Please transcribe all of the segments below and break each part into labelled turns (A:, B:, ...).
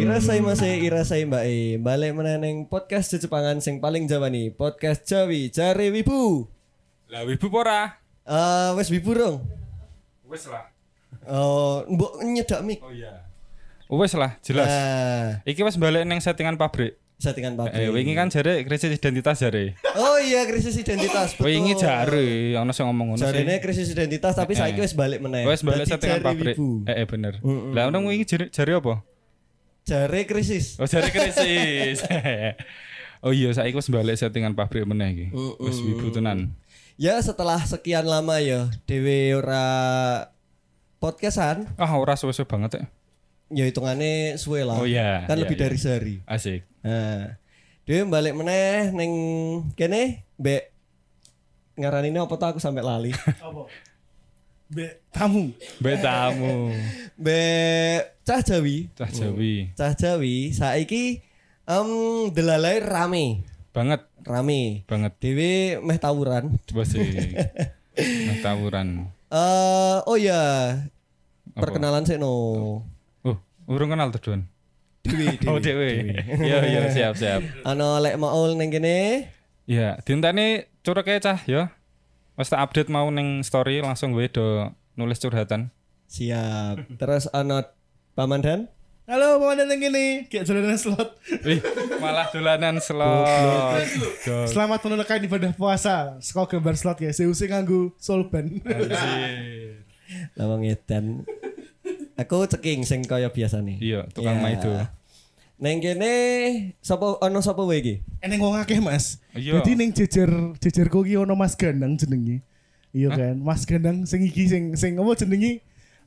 A: Irasai masih irasai mbak E Balik meneneng podcast Jejepangan sing paling Jawa nih Podcast Jawi Jare Wibu
B: Lah wibu pora.
A: Eh Wes Wibu dong
B: Wes lah.
A: Oh, mbok nyedak mic
B: Oh iya. Wes lah, jelas.
A: Nah,
B: Iki wes balik neng settingan pabrik.
A: settingan
B: Eh,
A: pabrik
B: wingi kan jare krisis identitas jare.
A: Oh iya krisis identitas betul.
B: Wingi jare ono sing ngomong ngono sih. Eh,
A: Jarene krisis identitas tapi saiki wes balik meneh.
B: Wes balik
A: Dadi
B: settingan
A: jare
B: pabrik.
A: wibu.
B: Eh, eh bener. Lah ono wingi jare jare apa?
A: Jare krisis.
B: Oh, jare krisis. Oh iya, saiki wes balik settingan pabrik meneh iki. Wes wibu tenan.
A: Ya setelah sekian lama ya dewe ora podcastan,
B: Ah, ora suwe-suwe banget ya.
A: ya hitungannya suwe lah.
B: Oh iya,
A: Kan
B: iya,
A: lebih
B: iya.
A: dari sehari.
B: Asik.
A: Nah, dewe balik meneh ning kene mbek ngaranine apa tuh aku sampe lali.
C: Be, tamu.
B: Mbak tamu.
A: Mbek Cah Jawi.
B: Cah Jawi.
A: Cah Jawi saiki em delalai rame.
B: Banget,
A: Rame.
B: banget.
A: Dewi meh tawuran.
B: Wes sih. Nah, tawuran.
A: Eh oh ya,
B: Apa?
A: perkenalan sih no.
B: Oh, urung kenal tuh Don.
A: Dewi,
B: Oh
A: Dewi.
B: dewe. Iya iya siap siap.
A: Ano lek maul neng kene.
B: Iya, dintane curhate cah ya. Wes tak update mau ning story langsung gue do nulis curhatan.
A: Siap. Terus ano Pamandan?
C: Halo, mau datang gini. Kayak jalanan slot.
B: Wih, malah dolanan slot.
C: Selamat menunaikan ibadah puasa. Sekolah gambar slot ya. Seusi nganggu solban.
B: Anjir.
A: Lawang edan. Aku ceking sing kaya biasa nih.
B: Iya, tukang
A: Ya.
B: maido.
A: Neng kene sapa ono sapa wae iki?
C: Eneng wong akeh, Mas.
B: Iya.
C: Jadi neng jejer jejerku ki ono Mas Gandang jenenge. Iya kan? Mas Gandang sing iki sing sing apa jenenge?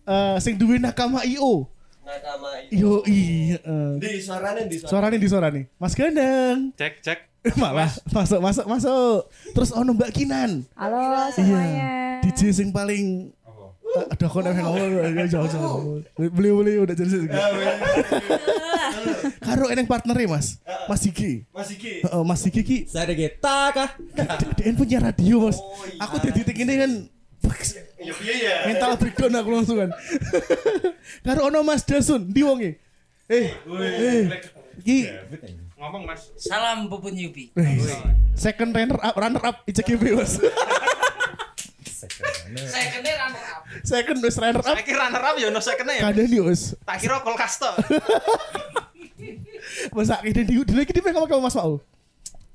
C: Eh sing duwe nakama IO.
A: Nakama
C: Yo i.
A: Di suarane di suara.
C: Suarane di suarane. Mas Gandang.
B: Cek cek.
C: Malah masuk masuk masuk. Terus ono Mbak Kinan.
D: Halo semuanya.
C: DJ sing paling Eh, Aduh, aku nempel ngomong, ya, jauh jauh. Beli beli udah jadi
A: Ah,
C: sih. Karo eneng partnernya mas, Mas Diki.
A: Ah. Mas iki.
C: Heeh, Mas Diki ki,
A: Sare kita kah?
C: DN punya radio
A: Oh,
C: mas.
A: iya.
C: Aku di titik ini kan, mental breakdown aku langsung kan. Karo ono Mas Dasun, di wonge. Eh, eh, ki,
B: Ngomong Mas.
E: Salam Puput Yupi.
C: eh, second runner up, runner up, ICGB mas.
E: Saya kene runner up.
C: Second kan wis runner up,
B: kan
F: Saya kira runner up ya no second ya.
C: kada nih mas.
F: Tak kira call custom.
C: Mas Akiden di, di lagi di pengen ngomong kamu Mas Paul.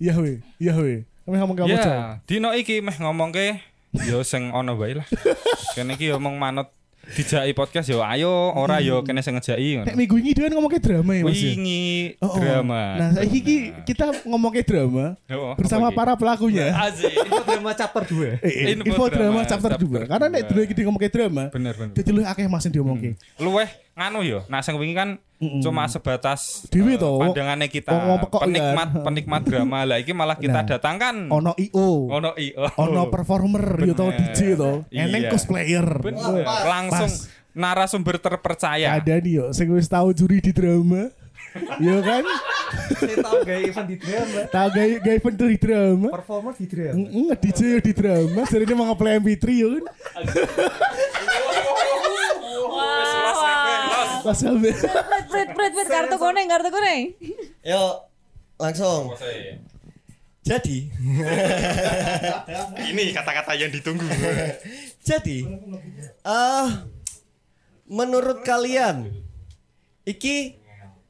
C: Iya we, iya we. Kami ngomong kamu Jal.
B: Iya, dino iki meh ngomong ke yo sing ono wae lah. Kene iki yo mong manut dijaki podcast yo ayo ora yo kene sing ngejaki ngono.
C: Nek minggu ini dia kan ngomongnya drama ya Hmm. mas ya?
B: Wingi
C: Oh, oh.
B: drama.
C: Nah saiki ki kita ngomongnya drama
B: Oh, apa
C: bersama
B: iki?
C: para pelakunya.
B: Azik.
F: Drama chapter 2.
C: Eh, eh,
B: Info
C: info drama,
B: drama
C: chapter
B: chapter
C: 2 Karena nek dulu iki dia ngomongnya drama,
B: Bener bener. Hmm.
C: jadi lu akeh mas yang diomongke.
B: Luweh nganu yo. Nah sing wingi kan cuma sebatas eh,
C: Dewi to, wong-
B: pandangannya kita
C: wong- wong pekok
B: penikmat
C: kan.
B: penikmat drama lah iki malah kita
C: Nah.
B: datangkan
C: Ono IO,
B: ono i oh.
C: ono performer, yo tau
B: Bener.
C: DJ to,
B: Iya.
C: eneng cosplayer.
B: Bener.
C: Wah,
B: langsung
C: Pas.
B: narasumber
F: Ya.
B: terpercaya.
C: Ada nih yo, sing wis tau juri di drama. Iya kan?
F: Saya tahu gaya event di drama.
C: Tau gawe gawe event di drama.
F: Performer di drama.
C: Heeh, DJ yo di drama, jadi dia mau nge-play MP3 yo kan. Pas sampe.
D: Prit prit prit prit kartu kuning kartu kuning.
A: Yo langsung. Jadi,
F: Ini kata-kata yang ditunggu.
A: Jadi, eh menurut kalian, iki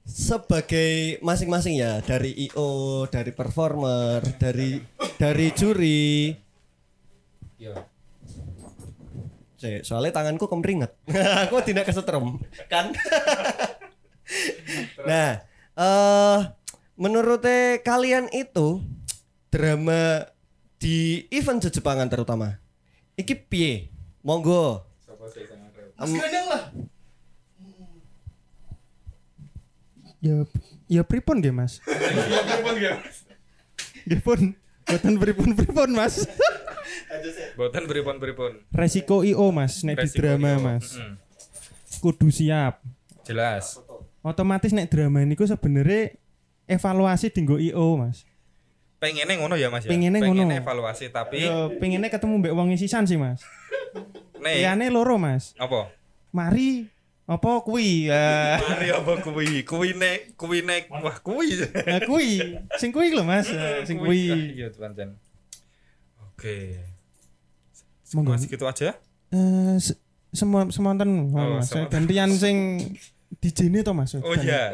A: sebagai masing-masing ya dari IO, dari performer, dari dari juri. Cek, soalnya tanganku kemeringet. Aku tidak kesetrum, kan? nah, eh menurut kalian itu drama di event Jejepangan terutama iki piye? Monggo.
F: Ya ya pripun nggih, Mas? Ya pripun nggih, Mas. Nggih pun. Boten pripun pripun, Mas.
B: Boten pripun-pripun.
F: Resiko IO, Mas, nek di
B: Resiko
F: drama,
B: IO.
F: Mas.
B: Mm-mm.
F: Kudu siap.
B: Jelas.
F: Otomatis nek drama niku sebenarnya evaluasi dinggo IO, Mas.
B: Pengennya ngono ya Mas ya.
F: Pengennya ngono.
B: evaluasi tapi
F: Iya. Ya pengennya ketemu mbek wong sisan sih, Mas.
B: Nih.
G: Liyane loro, Mas.
B: Apa?
G: Mari apa kuwi? Eh,
B: Mari apa kuwi? Kuwine, kuwine. Wah, kuwi.
G: eh, kuwi. Sing kuwi lho, Mas. Eh, Sing kuwi.
B: Iya, pancen. Oke.
G: Monggo.
B: Masih gitu aja.
G: Eh, se- semua semonten
B: Oh,
G: Mas.
B: semonten.
G: gantian sing dijene to, Mas.
B: Oh iya.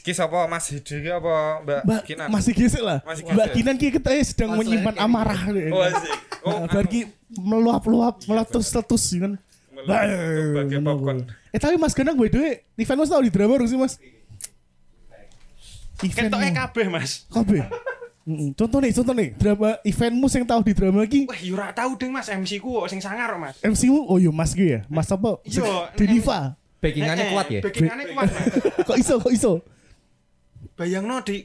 B: Ki sapa Mas Hidi ki apa Mbak,
C: Mbak
B: Kinan?
C: masih gesek lah.
B: Masih
C: Mbak
B: gesek.
C: Kinan ki ketanya sedang
E: Maksudnya
C: menyimpan
E: kayak
C: amarah.
B: Oh, asik. Oh,
C: Nah, bar ki meluap-luap, meletus-letus ya kan.
B: anu,
C: Bah,
B: sebagai
C: ngono
B: popcorn.
C: kuwi. Eh tapi Mas Ganang by the way, event Mas tau di drama dong sih Mas?
H: ya,
C: Event
B: Ketoknya kabeh, Mas.
C: kabeh. Mm-mm. Contoh nih, contoh nih, drama eventmu yang tahu di drama ki
H: Wah,
F: ya
H: yo ora tau ding Mas MC ku kok sing sangar kok, Mas.
C: MC mu, oh yo Mas gue ya, Mas apa?
H: Iya,
C: Deniva.
F: Eh,
I: Backingannya kuat ya.
H: Backingane kuat, Mas.
C: Kok iso, kok iso?
H: Bayangno di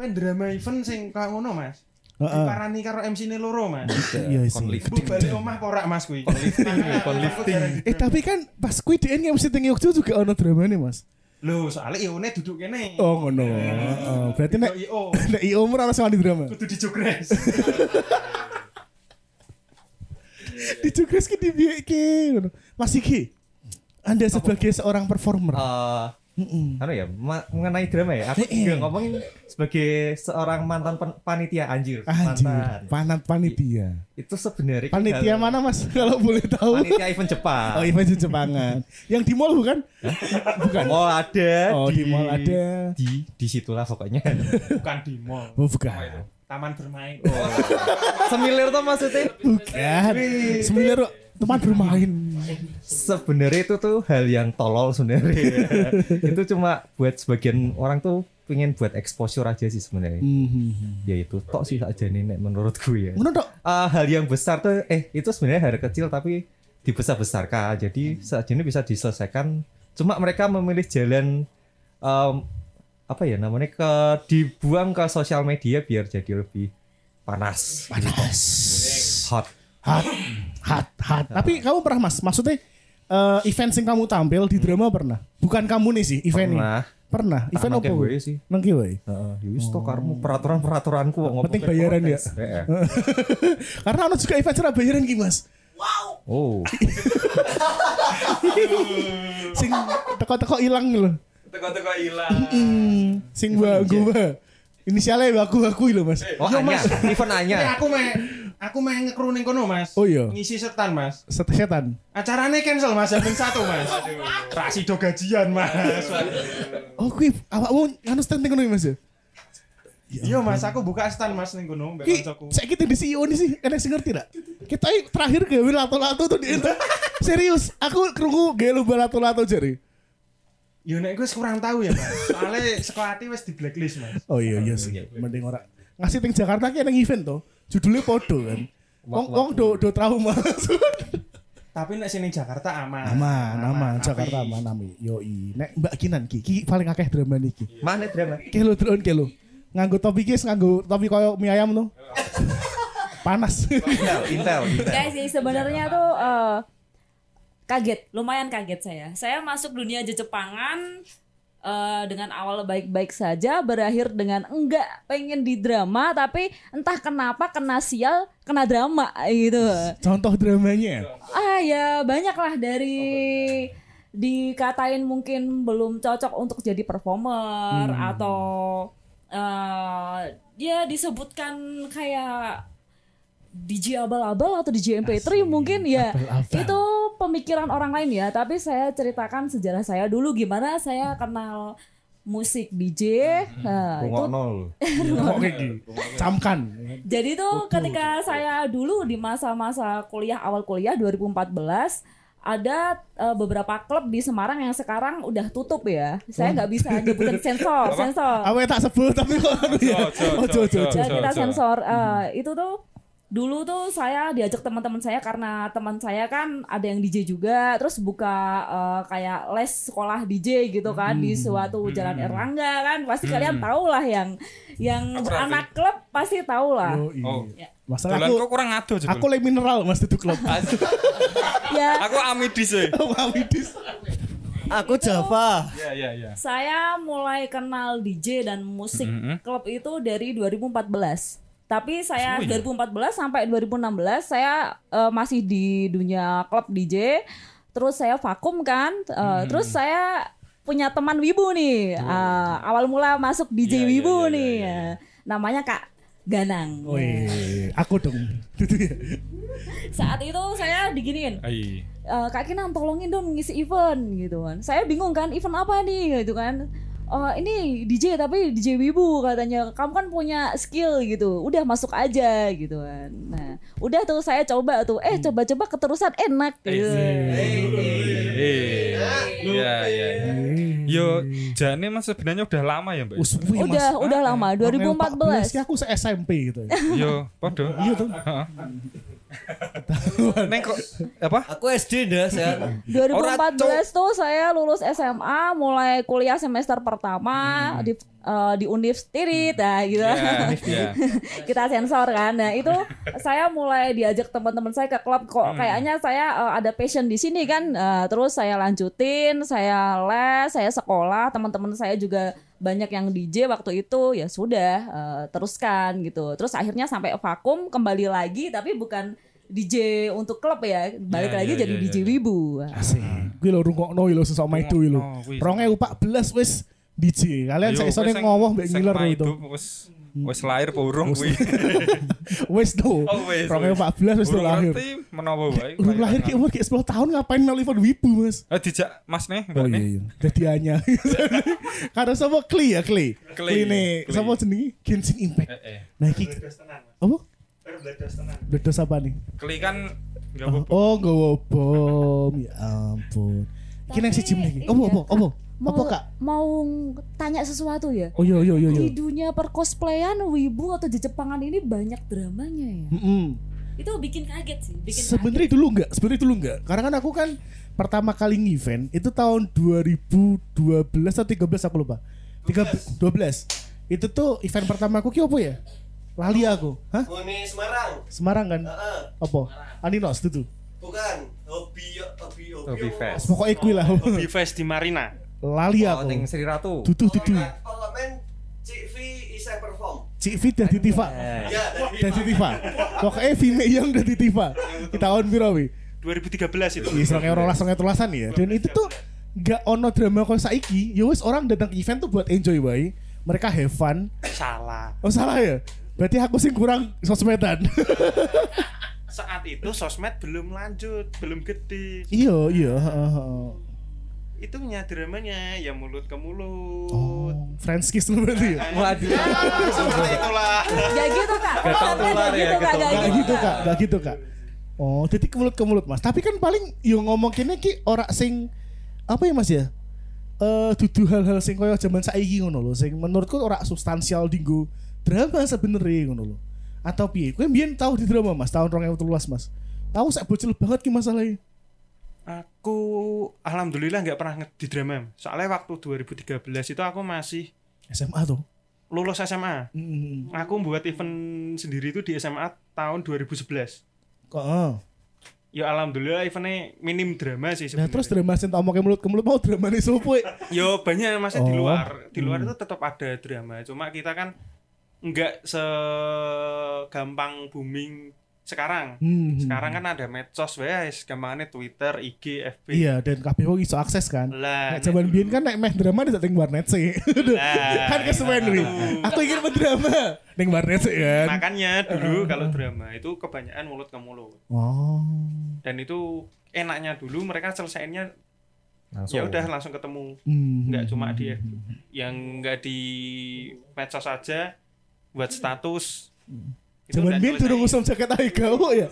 H: Wen drama event sing kaya ngono, Mas.
C: Heeh.
H: Diparani karo MC-ne loro, Mas.
C: Iya sih.
H: Gue balik omah apa ora, Mas kuwi. Konlifting.
C: Eh tapi kan pas kui di end MC teng Yogyo juga ono drama nih Mas.
H: Lho, soalnya ione duduk kene.
C: Oh ngono. Heeh. Berarti nek
H: IO
C: nek IO ora sama di drama.
H: kudu dijogres.
C: di Jogres ki di piye ki ngono. Mas iki Anda sebagai seorang performer.
A: eh
C: Mm-mm. Eh,
A: anu ya ma- mengenai drama ya aku
C: Heeh.
A: juga ngomongin sebagai seorang mantan pen- panitia anjir,
C: Ah, Anjir,
A: mantan
C: panat panitia.
A: itu sebenarnya
C: Panitia
A: kalau-
C: mana Mas kalau boleh tahu?
A: panitia event Jepang
C: Oh, event di Jepangan. Yang di mall bukan? bukan.
A: mall ada
C: Oh, di mall ada.
A: di disitulah pokoknya
H: Bukan di mall.
C: Oh, bukan.
H: Taman bermain.
C: Oh,
A: semilir tuh maksudnya
C: Bukan. Sebenarnya tempat bermain.
A: sebenarnya itu tuh hal yang tolol sebenarnya itu cuma buat sebagian orang tuh pengen buat exposure aja sih sebenarnya
C: Mhm.
A: ya itu tok sih aja nih Nek, menurut gue ya
C: Ngono tok.
A: Ah, hal yang besar tuh eh itu sebenarnya hal kecil tapi dibesar-besarkan jadi saat ini bisa diselesaikan cuma mereka memilih jalan em, apa ya namanya ke dibuang ke sosial media biar jadi lebih panas
C: Panas.
A: hot
C: Hat, hat, hat. Tapi kamu pernah Mas, maksudnya eh, event yang kamu tampil di drama pernah? Bukan kamu nih sih eventnya.
A: pernah
C: Pernah.
A: Tak
C: Event
A: nangke
C: apa?
A: gue sih
C: Nang ki wae.
A: Heeh, ya wis toh karmu peraturan-peraturanku kok ngomong
C: Penting
A: kayak
C: bayaran ya?
A: protes. Heeh.
C: Karena ono juga event ora bayaran ki Mas.
A: Oh,
C: Sing teko-teko ilang lho.
B: Teko-teko hilang.
C: Hmm, sing wa gua. Inisialnya baku aku lho Mas.
A: oh Anya, event Anya.
H: Ini aku main aku main ngekru ning kono, Mas.
C: iya. Oh, iya.
H: Ngisi setan, Mas.
C: Set- Setan.
H: Acaranya cancel, Mas. Jam satu, Mas. Rasido gajian, Mas.
A: Eh.
C: Oh kuwi awakmu anu stand ngono ki, Mas ya.
H: Iya, Mas, aku buka stand, Mas ning kono, mbek
C: Ki,
H: kancaku.
C: saya kita di CEO nih sih, enak sih ngerti gak? Kita ini terakhir gawe lato-lato tuh di itu. Serius, aku kerungu gawe lomba lato-lato jari.
H: Yo nek gue kurang tahu ya, Mas. Soalnya sekolah ati wis di blacklist, Mas.
C: Oh iya iya sih, mending ora. Ngasih ting Jakarta ki enak event tuh, judulnya podo kan. Wong wong do do trauma.
H: Tapi nek sini Jakarta aman.
C: aman, aman, Jakarta aman aman. Yo i, nek Mbak Kinan ki, ki paling akeh drama niki.
A: Mana drama?
C: Kelo drone kelo. Nganggo topi ki, nganggo topi koyo mie ayam tuh. Panas.
A: Intel, Intel, Intel.
D: Guys, sih sebenarnya tuh eh, kaget, lumayan kaget saya. Saya masuk dunia jejepangan eh, dengan awal baik-baik saja, berakhir dengan enggak pengen di drama, tapi entah kenapa kena sial, kena drama gitu.
C: Contoh dramanya.
D: Ah ya banyak lah dari dikatain mungkin belum cocok untuk jadi performer atau eh, dia disebutkan kayak DJ abal-abal atau DJ MP3 mungkin ya
C: abal-abal.
D: itu pemikiran orang lain ya tapi saya ceritakan sejarah saya dulu gimana saya kenal musik DJ nah, itu
A: Rungokno lho.
C: Kok kayak gini? Camkan.
D: jadi tuh ketika saya dulu di masa-masa kuliah awal kuliah 2014 ada eh, beberapa klub di Semarang yang sekarang udah tutup ya. Saya nggak bisa nyebutin sensor, sensor.
C: Awe Oh. tak sebut tapi kok anu ya.
B: Ojo, ojo,
C: Ojo, ojo, ojo.
D: Ya, kita
B: Ojo.
D: sensor. Eh, Itu tuh dulu tuh saya diajak teman-teman saya karena teman saya kan ada yang DJ juga, terus buka eh, kayak les sekolah DJ gitu kan di suatu jalan Erlangga kan. Pasti kalian tahu lah yang yang
B: Apa-apa.
D: anak klub pasti tahu lah.
C: Oh, iya.
B: Oh.
C: Masalah
B: Dolan
C: aku
B: kok Ah. kurang ado
C: aku
B: jebul.
C: le mineral Mas duduk klub.
D: Ya.
B: Aku amidis e.
C: Oh. Wawidis.
I: Aku Java.
B: Iya, iya, iya.
D: Saya mulai kenal DJ dan musik
B: Mhm.
D: klub itu dari 2014. Tapi saya
B: ya?
D: 2014 sampai 2016 saya eh, masih di dunia klub DJ. Terus saya vakum kan. Eh,
B: Mm-hmm.
D: Terus saya punya teman Wibu nih. Eh, awal mula masuk
B: Iya,
D: DJ
B: iya,
D: Wibu
B: iya,
D: nih.
B: iya,
D: Namanya Kak Ganang.
C: Wih, aku dong. Gitu ya.
D: Saat itu saya diginiin.
B: Ai.
D: Eh, Kak Kinang tolongin dong ngisi event gitu kan. Saya bingung kan event apa nih gitu kan. Eh, ini DJ tapi DJ Wibu katanya kamu kan punya skill gitu. Udah masuk aja gitu kan. Nah, udah tuh saya coba tuh. Eh coba-coba keterusan enak gitu.
B: iya. Eh, Iya, iya. Yo, jane mas sebenarnya udah lama ya, Mbak.
C: Us- wih,
D: Udah,
C: Mas.
D: udah
C: Ah,
D: lama,
C: tahun
D: 2014.
C: sih aku se SMP gitu ya.
B: Yo, podo.
C: Iya tuh.
B: Heeh. Neng kok apa?
I: Aku SD dah saya.
D: 2014 tuh saya lulus SMA, mulai kuliah semester pertama di eh, di Univ Stirit nah gitu.
B: Iya, iya.
D: kita sensor kan. Nah, itu saya mulai diajak teman-teman saya ke klub kok
B: Hmm.
D: kayaknya saya eh, ada passion di sini kan. Eh, terus saya lanjutin, saya les, saya sekolah, teman-teman saya juga banyak yang DJ waktu itu ya sudah eh, teruskan gitu. Terus akhirnya sampai vakum kembali lagi tapi bukan DJ untuk klub ya, balik
B: Ya,
D: lagi
B: ya,
D: jadi
B: ya,
D: DJ
B: ya.
D: Wibu.
C: Asik. Gue lo rungokno ya, lo sesok maidu lo.
B: Rungokno, wih.
C: 2014 wis DJ. Kalian
B: Ayo,
C: saya
B: wes
C: sore
B: sing-
C: ngowoh mbek
B: sing
C: ngiler gitu.
B: maido
C: itu.
B: Wes wes lahir apa urung kuwi.
C: Wis do.
B: Oh, wis,
C: 2014 wis do
B: Urung
C: lahir.
B: ngerti menawa wae.
C: Urung lahir ki umur ki 10 tahun ngapain nol event wibu, Mas?
B: Eh dijak Mas nih, Mbak
C: Oh
B: nih.
C: iya iya. Dadi anyar. Karena sama Kli ya Kli.
B: Kli,
C: Kli
B: Kli.
C: nih. Sama jenenge Genshin Impact.
B: Eh, eh.
C: Nah iki apa? Bledos apa nih?
B: Kli kan enggak
C: Oh,
B: apa-apa.
C: oh nggawa bom. Ya ampun. Iki nang siji meneh.
D: Tapi,
C: Apa
D: iya,
C: apa
D: Kak.
C: apa?
D: Mau
C: Apa Kak?
D: mau tanya sesuatu ya?
C: Oh iya iya iya iya.
D: Di dunia percosplayan Wibu atau Jejepangan ini banyak dramanya ya.
C: Mm-mm.
D: Itu bikin kaget sih, bikin kaget.
C: Sebenarnya dulu enggak, sebenarnya dulu enggak. Karena kan aku kan pertama kali event itu tahun 2012 atau 13 aku lupa. Tiga- 12. Itu tuh event pertama aku ki apa ya? Lali aku. Hah?
I: Uni Semarang.
C: Semarang kan?
I: Heeh.
C: Apa? Aninos itu tuh.
I: Bukan. Hobi hobi
A: Hobi fest.
C: Pokoknya kui lah.
F: di Fest di Marina.
C: Lali
A: Oh,
C: aku.
A: neng Sri Ratu.
C: Duduh duduh.
I: Pokoknya kan Cik V isai perform.
C: Cik Fit dadi Tifa.
A: Eh,
I: Ya, dari
C: Dadi Tifa. Pokoknya Vime yang dadi Tifa. Di tahun piro wi?
F: 2013 itu.
C: Iya, serangnya orang serangnya tulasan ya. Dan itu tuh gak ono drama kau saiki. Ya wes orang datang ke event tuh buat enjoy wae. Mereka have fun.
F: Salah.
C: Oh salah ya? Berarti aku sih kurang sosmedan.
F: Saat itu sosmed belum lanjut, belum gede.
C: iya, iya. heeh, heeh.
F: Itu dramanya ya mulut ke mulut.
C: Oh, French kiss lu berarti ya?
A: Waduh.
F: Ah, seperti itulah.
D: Gak gitu kak, Kontennya
A: ketular
D: gak
A: ya,
D: gitu
C: Gak
D: kak, gak gitu
C: gitu kak, gak gitu kak. Oh, titik ke mulut ke mulut mas. Tapi kan paling yo ngomong kini ki ora sing apa ya mas ya? Eh, dudu hal-hal sing koyo zaman saiki ngono lho, sing menurutku ora substansial dinggo drama sebenernya ngono lho. Atau piye? Kowe mbiyen tau di drama Mas, tahun 2013 Mas. Aku sak bocil banget ki masalahnya.
F: Aku alhamdulillah nggak pernah nge- di drama. Soalnya waktu 2013 itu aku masih
C: SMA tuh.
F: lulus SMA.
C: Heeh.
F: Aku membuat event sendiri itu di SMA tahun 2011.
C: Heeh.
F: Ya alhamdulillah eventnya minim drama sih
C: Nah
F: sebenarnya.
C: terus drama sing tak omongke mulut ke mulut mau drama nih sopo ya?
F: Yo banyak masih di
C: Oh.
F: luar. Di luar itu tetap ada drama. Cuma kita kan nggak segampang booming sekarang.
C: Hmm.
F: Sekarang kan ada medsos guys, gampangannya Twitter, IG, FB.
C: Iya dan kabeh wong iso akses kan.
F: Lah.
C: Nek jaman biyen kan nek meh drama di ning warnet sih. Udah,
F: Nah,
C: kan kesuwen wi.
F: itu.
C: Aku ingin berdrama ning warnet sih kan.
F: Makanya dulu kalau drama itu kebanyakan mulut ke mulut.
C: Oh.
F: Dan itu enaknya dulu mereka selesainya
A: Langsung.
F: ya udah langsung ketemu.
C: Hmm.
F: Nggak cuma di FB. yang nggak di medsos saja buat status. Itu
C: Jaman
F: udah
C: biyen durung
F: selesai.
C: usum jaket aega wo ya.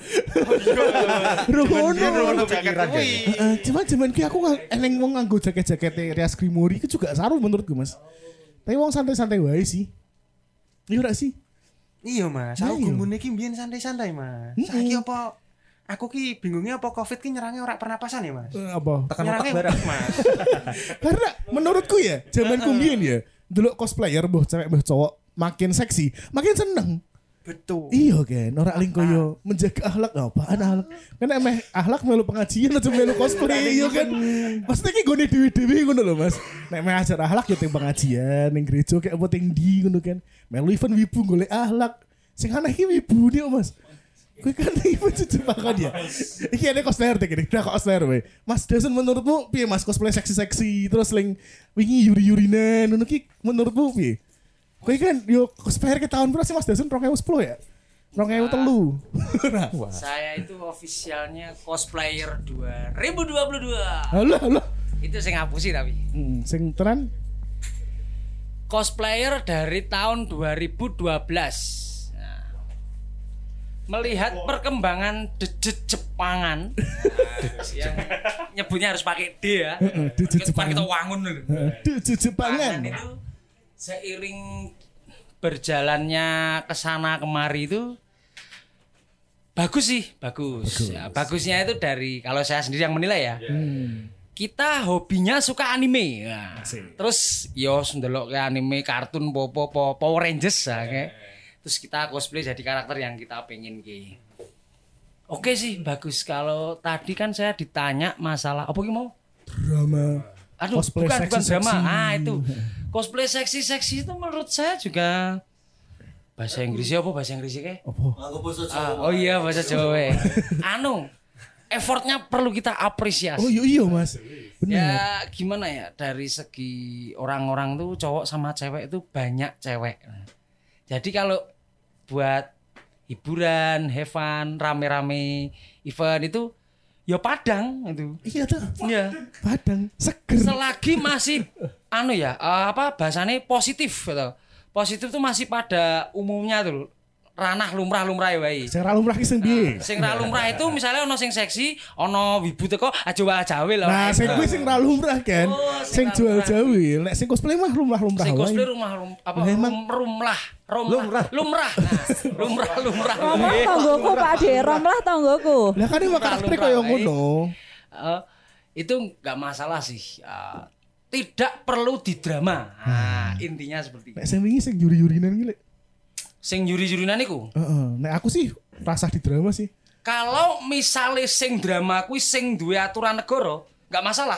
F: Dia
C: Rumono.
F: rono jaket
A: pikiran,
F: kuwi.
C: Heeh, cuman jaman ki aku nggak- eneng wong nganggo jaket-jakete Rias Grimori itu juga saru menurutku Mas. Tapi wong santai-santai wae sih. Iya ora sih?
F: Iya mas,
C: Nah, iya.
F: aku
C: Hmm.
F: gumune ki mbiyen santai-santai mas.
C: Mm-mm.
F: Saiki apa aku ki bingungnya apa covid ki nyerangnya ora pernapasan ya mas.
C: Eh, Apa?
A: Tekan otak
F: nyerangnya
A: barang.
F: utek, mas.
C: Karena menurutku ya, zaman kumbien ya, dulu cosplayer boh cewek boh cowok makin seksi, makin seneng.
F: Betul.
C: Iya kan, orang lingko yo menjaga ahlak nggak apaan ahlak. Kan emeh ahlak melu pengajian atau melu cosplay iya kan. Pasti ki gone dewe-dewe ngono lho Mas. Nek meh ajar ahlak yo ting pengajian ning gereja kayak apa ting di ngono kan. Melu event wibu golek ahlak. Sing aneh iki wibune kok, Mas. Kowe kan iki cucu makan ya. Iki ada cosplayer dek ini, kok cosplayer we. Mas Dasun menurutmu piye Mas cosplay seksi-seksi terus link wingi yuri-yurinan ngono ki menurutmu piye? Kowe kan yo cosplayer ke tahun berapa sih Mas Dasun 2010 ya? 2003. Nah,
E: Saya itu officialnya cosplayer 2022.
C: Halo halo.
E: Itu saya ngapusi tapi.
C: Hmm, sing tenan
E: Cosplayer dari tahun 2012. Nah, Melihat perkembangan dejet Jepangan Nah, yang nyebutnya harus pakai D ya.
C: Heeh, dejet
E: Kita-
C: Jepangan.
E: Kita wangun dulu.
C: Duh, cucu pangan.
E: Pangan itu seiring berjalannya ke sana kemari itu bagus sih, bagus. Ya, bagusnya itu dari kalau saya sendiri yang menilai ya. Kita hobinya suka anime. Nah, terus yo ndelok ke anime kartun popo po, Power Rangers ya, kayak. Terus kita cosplay jadi karakter yang kita pengen ki. Oke sih, bagus. Kalau tadi kan saya ditanya masalah apa ki mau?
C: Drama.
E: Aduh,
C: Cosplay
E: bukan, bukan
C: seksi-seksi.
E: drama. Ah, itu. Cosplay seksi-seksi itu menurut saya juga bahasa Inggrisnya apa bahasa Inggrisnya?
C: Oh,
E: Apa? Ah, oh iya bahasa Jawa. we. anu, effortnya perlu kita apresiasi.
C: Oh iya iya Mas. Bener.
E: Ya gimana ya dari segi orang-orang tuh cowok sama cewek itu banyak cewek. Jadi kalau buat hiburan, have fun, rame-rame event itu ya Padang itu.
C: Iya tuh.
E: Iya.
C: Padang seger.
E: selagi masih anu ya eh, apa bahasanya positif gitu. positif tuh masih pada umumnya tuh ranah lumrah lumrah ya wae
C: Sing ra lumrah ki sing piye?
E: sing ra lumrah itu misalnya ono sing seksi ono wibu teko aja wae jawe lah
C: Nah,
E: wae.
C: sing kuwi sing ra lumrah kan.
E: Oh,
C: Sing
E: sing ra
C: jual
E: lumrah.
C: jawi, lek sing cosplay mah lumrah-lumrah
E: sing
C: wae.
E: cosplay rumah rum, apa
C: Lah, Nah, emang-
E: rum, rumlah rumlah lumrah nah, lumrah lumrah
D: Romlah tonggoku Pak De, romlah tonggoku.
C: Lah kan emang
E: Lumrah,
C: karakter
E: lumrah
C: koyo
E: wae.
C: ngono.
E: Eh, itu nggak masalah sih Eh, tidak perlu didrama nah,
C: Hmm.
E: intinya seperti itu.
C: Nek sing wingi sing yuri-yurinan ki lek.
E: sing juri jurinan niku
C: Heeh. Nek aku sih rasah di drama sih.
E: kalau misalnya sing drama kuwi sing duwe aturan negara nggak masalah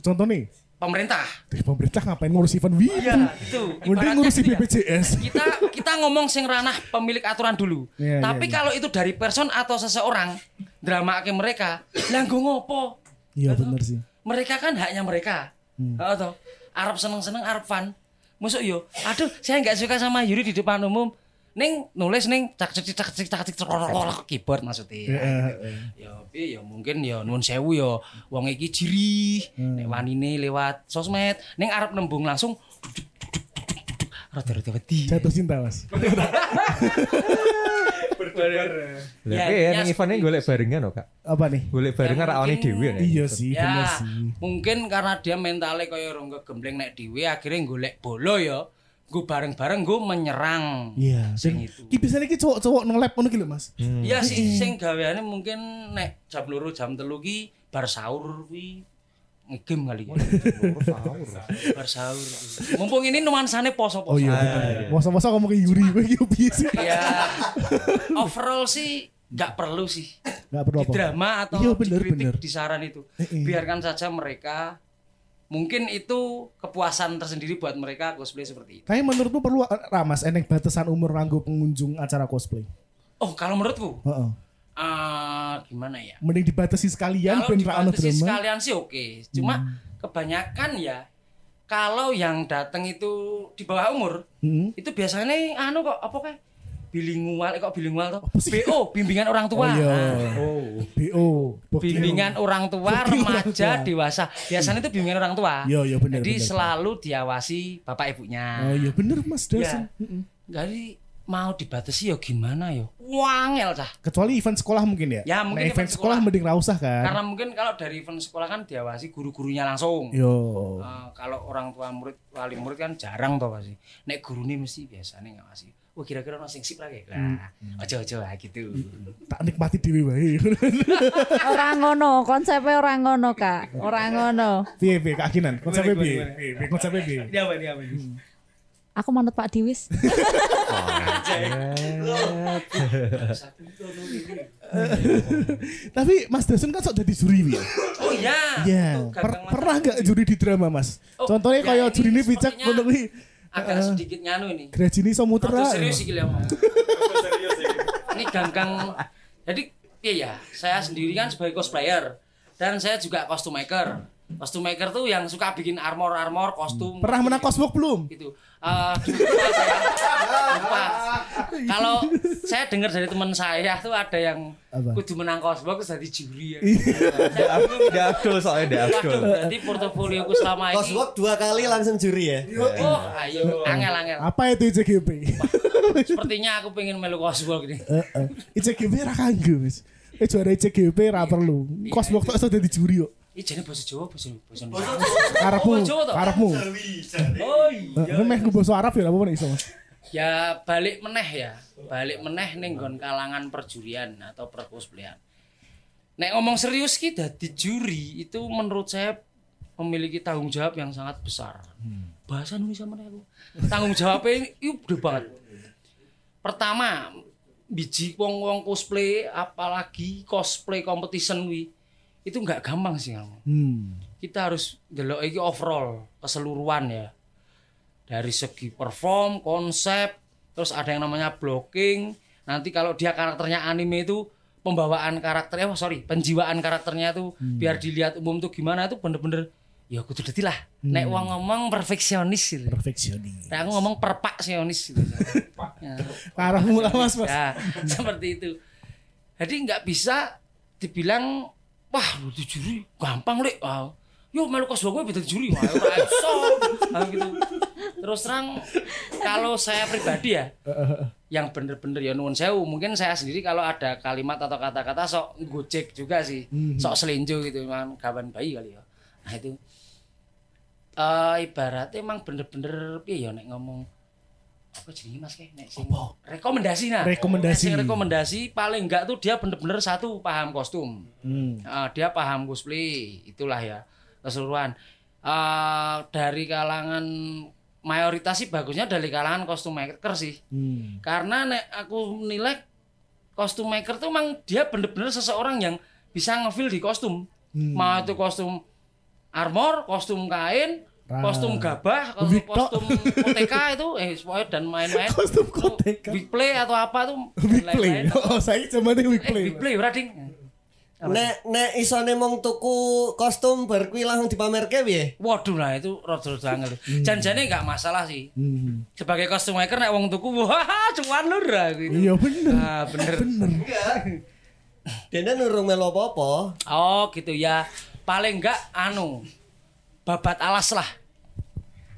C: Contohnya,
E: pemerintah
C: dari pemerintah Eh, ngapain ngurus event wibu?
E: Iya,
C: Mending
E: itu. Ibaratnya
C: ngurusi
E: gitu ya.
C: BPJS.
E: kita kita ngomong sing ranah pemilik aturan dulu
C: Iya, iya,
E: tapi
C: iya.
E: kalau itu dari person atau seseorang drama ke mereka lah nggo ngopo
C: Iya bener sih.
E: mereka kan haknya mereka Heeh toh Arab seneng seneng Arab fan musuh yo aduh saya nggak suka sama Yuri di depan umum Neng nulis neng cak cak cak cak cak cak cak keyboard maksudnya.
C: Eh,
E: ya piye ya mungkin ya nuwun sewu ya wong iki jiri
C: Hmm.
E: nek wanine lewat sosmed ning arep nembung langsung rada-rada wedi
C: Jatuh cinta mas.
A: Lah
E: Ya,
A: kowe ya
E: ya,
A: ning eventnya golek barengan loh Kak.
C: Apa nih?
A: Golek barengan ra awake
E: mungkin-
A: dhewe nek.
C: Iya sih, bener
E: ya
C: sih.
E: mungkin karena dia mentalnya kaya orang kegembleng nek dhewe akhirnya golek bola ya gue bareng-bareng gue menyerang
C: Iya. Dan
E: sing itu
C: ki biasanya ki cowok-cowok nge-lab ngono ki lho mas.
E: Iya sih
C: Hmm.
E: sing gaweane mungkin nek jam loro jam telu ki bar sahur kuwi ngegame kali ya. bar sahur. Mumpung ini nuansane
C: Oh
E: poso-poso.
C: iya bener. Masa-masa ngomong ke Yuri, gue ki piye sih?
E: Ya overall sih nggak perlu sih
C: Gak perlu
E: di
C: apa.
E: drama atau
C: Iya, bener,
E: dikritik
C: bener.
E: di saran itu.
C: Eh, eh.
E: Biarkan saja mereka mungkin itu kepuasan tersendiri buat mereka cosplay seperti itu.
C: Tapi menurutmu perlu ramas eneng batasan umur nganggo pengunjung acara cosplay?
E: Oh, kalau menurutku
C: Heeh.
E: eh, gimana ya?
C: Mending dibatasi sekalian
E: kalau
C: ben ra ono
E: dibatasi
C: drama. Hmm.
E: sekalian sih oke cuma kebanyakan ya kalau yang datang itu di bawah umur
C: Heeh.
E: itu biasanya anu kok apa kayak bilingual eh, kok bilingual tuh
C: Apa sih?
E: BO bimbingan orang tua
C: Oh iya.
E: Nah,
C: BO. Bokil.
E: bimbingan orang tua
C: Bimbingan orang
E: remaja
C: tua.
E: dewasa biasanya itu bimbingan orang tua
C: Iya, iya, benar,
E: jadi
C: benar.
E: selalu diawasi bapak ibunya
C: Oh iya bener Mas Dasun.
E: Iya. jadi mau dibatasi ya gimana ya wangel cah
C: Kecuali event sekolah mungkin ya.
E: Ya,
C: Nah,
E: mungkin
C: event
E: event
C: sekolah
E: sekolah.
C: mending ra usah kan.
E: karena mungkin kalau dari event sekolah kan diawasi guru-gurunya langsung
C: Yo.
E: Eh, kalau orang tua murid wali murid kan jarang toh pasti nek gurune mesti biasanya nggak masih oh kira-kira ono sing sip lah kayak lah
C: Mm.
E: ojo ojo lah gitu
C: Tak nikmati dhewe wae.
D: Ora ngono, konsepe ora ngono, Kak. Ora ngono.
C: Piye piye keyakinan? Konsepnya piye? Piye, piye, Konsepnya piye?
E: ini apa ini apa ini
D: Aku manut Pak Diwis.
C: Tapi Mas Dasun kan sok jadi juri ya.
E: oh ya
C: Iya.
E: Tuh,
C: Per-
E: gagang mata.
C: pernah gak juri di drama Mas?
E: Oh,
C: Contohnya
E: ya,
C: kayak
E: ini
C: juri ini pijak
E: sepertinya
C: ngono kuwi.
E: agak sedikit nyanu ini
C: Grajini
E: Rada
C: Samudera.
E: serius iki lho Jadi gang-gang jadi iya ya, saya sendiri kan sebagai cosplayer dan saya juga costume maker. Costume maker tuh yang suka bikin armor-armor,
C: Hmm.
E: kostum.
C: Pernah menang Cosmog belum?
E: gitu. Eh, dulu lupa saya. Lupa. Kalau saya dengar dari teman saya tuh ada yang
C: Apa? Iya.
E: kudu menang kosbok terus jadi juri ya.
A: Ndak abdul, ndak abdul soalnya ndak abdul.
E: Waduh, berarti portofolioku selama ini.
I: Coswork dua kali langsung juri ya.
E: Oh, ayo, angel-angel.
C: Apa itu ICGP?
E: Sepertinya aku pengen melu kosbok gini.
C: Eh, eh. ICGP ra kanggo wis. Eh juara ICGP
E: Iya.
C: ra perlu. Cosmog tok iso dadi juri yo.
E: Ih, jadi bahasa Jawa, bahasa bahasa
C: Karepmu,
E: Oh, Jawa toh?
C: karepmu.
E: Oh, iya.
C: Eh, Ini meh ku basa Arab ya apa nih iso. Mas?
E: Ya balik meneh ya, balik meneh ning nggon kalangan perjurian atau percosplayan. Nek ngomong serius ki dadi juri itu menurut saya memiliki tanggung jawab yang sangat besar. Bahasa Indonesia meneh aku. Tanggung jawabnya itu gede banget. Pertama, biji wong-wong cosplay apalagi cosplay competition wi itu nggak gampang sih kamu
C: Hmm.
E: kita harus delok iki overall keseluruhan ya. Dari segi perform, konsep, terus ada yang namanya blocking. Nanti kalau dia karakternya anime itu pembawaan karakternya, oh sorry, penjiwaan karakternya tuh biar dilihat umum tuh gimana tuh bener-bener ya kudu deti lah. Nek wong ngomong perfeksionis gitu.
C: Perfeksionis.
E: Nek aku ngomong perpaksionis gitu. Ya.
C: Karepmu lah Mas, Mas.
E: Ya, seperti itu. Jadi nggak bisa dibilang wah lu di juri gampang lek. Wah, yo melu kos gue beda juri. Wah, ora iso. Nah, gitu. Terus terang kalau saya pribadi ya yang bener-bener ya nuwun sewu mungkin saya sendiri kalau ada kalimat atau kata-kata sok gojek juga sih sok selinjo gitu memang kawan bayi kali ya nah itu eh ibaratnya emang bener-bener piye ya nek ngomong apa jenenge Mas Keh nek sing rekomendasi nah
C: Rekomendasi.
E: Nek sing rekomendasi paling enggak tuh dia bener-bener satu paham kostum
C: Hmm,
E: Eh, dia paham cosplay itulah ya keseluruhan Eh, dari kalangan mayoritas sih bagusnya dari kalangan kostum maker sih
C: hmm.
E: karena nek aku menilai kostum maker tuh emang dia bener-bener seseorang yang bisa ngefeel di kostum
C: Hmm.
E: mau itu kostum armor kostum kain kostum gabah kalau
C: Wig tok.
E: kostum OTK itu eh pokoknya dan main-main
C: Kostum
E: Itu
C: OTK.
E: wig play atau apa tuh
C: Big play.
E: lain-lain.
C: Oh, saya zaman ini big
E: eh
C: play.
E: wig play ora ding
I: Nek nek isone mong tuku kostum berkuwi langsung dipamerke piye?
E: waduh lah itu rada-rada angel janjane nggak masalah sih
C: Hmm.
E: sebagai kostum maker nek wong tuku wah cuan lur ah, gitu
C: Iya bener.
E: ah bener
I: Dene nurung melu apa-apa.
E: Oh gitu ya. Paling enggak anu babat alas lah.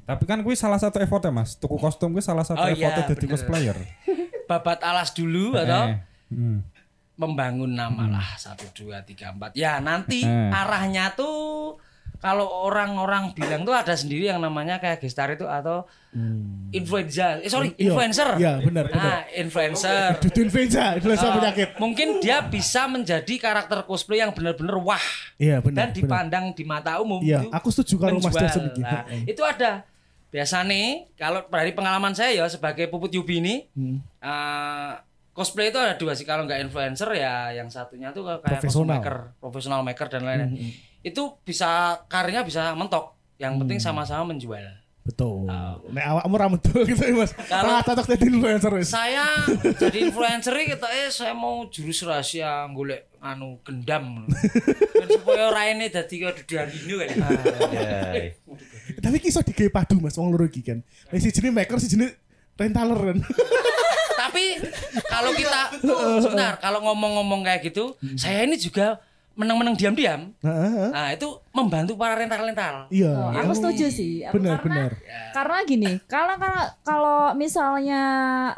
B: Tapi kan gue salah satu effortnya mas. Tuku kostum gue salah satu
E: Oh, iya,
B: effortnya jadi
E: bener.
B: cosplayer.
E: Babat alas dulu
B: Eh,
E: atau
B: hmm.
E: membangun nama
C: Hmm.
E: lah satu dua tiga empat. Ya nanti
B: Eh.
E: arahnya tuh kalau orang-orang bilang tuh ada sendiri yang namanya kayak gestar itu atau influencer. Eh sorry
C: Hmm. Iya.
E: influencer.
C: Iya, benar, benar.
E: Nah influencer.
C: Dudun Venza, influenza
E: Oh,
C: penyakit.
E: Mungkin dia bisa menjadi karakter cosplay yang benar-benar wah
C: Iya benar.
E: dan
C: benar.
E: dipandang di mata umum. gitu.
C: Iya,
E: itu
C: aku setuju kalau Mas gitu.
E: menjual.
C: Dasen begitu.
E: Nah, itu ada. Biasa nih, kalau dari pengalaman saya ya sebagai puput Yubi ini, eh, cosplay itu ada dua sih. Kalau nggak influencer ya, yang satunya tuh kayak
C: Profesional.
E: cosplay maker, profesional maker dan lain-lain. Itu bisa karirnya bisa mentok. Yang penting sama-sama menjual.
C: Betul.
E: Ah.
C: Nek awakmu ra metu gitu ya, Mas. Ora cocok dadi influencer wis.
E: Saya jadi influencer kita eh saya mau jurus rahasia golek anu gendam. Kan supaya raine dadi kaya Dudiandino kali.
A: Yeay.
C: Tapi ki iso digawe padu Mas wong loro iki kan. Nek si jenis maker, si jenis rentaler kan.
E: Tapi kalau
C: Iya,
E: kita sebentar, kalau ngomong-ngomong kayak gitu,
C: Hmm.
E: saya ini juga menang-menang diam-diam.
C: Heeh, heeh.
E: Nah, itu membantu para rental-rental.
C: Iya.
D: Oh, aku setuju sih. Aku
C: Benar,
D: karena,
C: benar.
D: Karena gini, kalau kalau kalau misalnya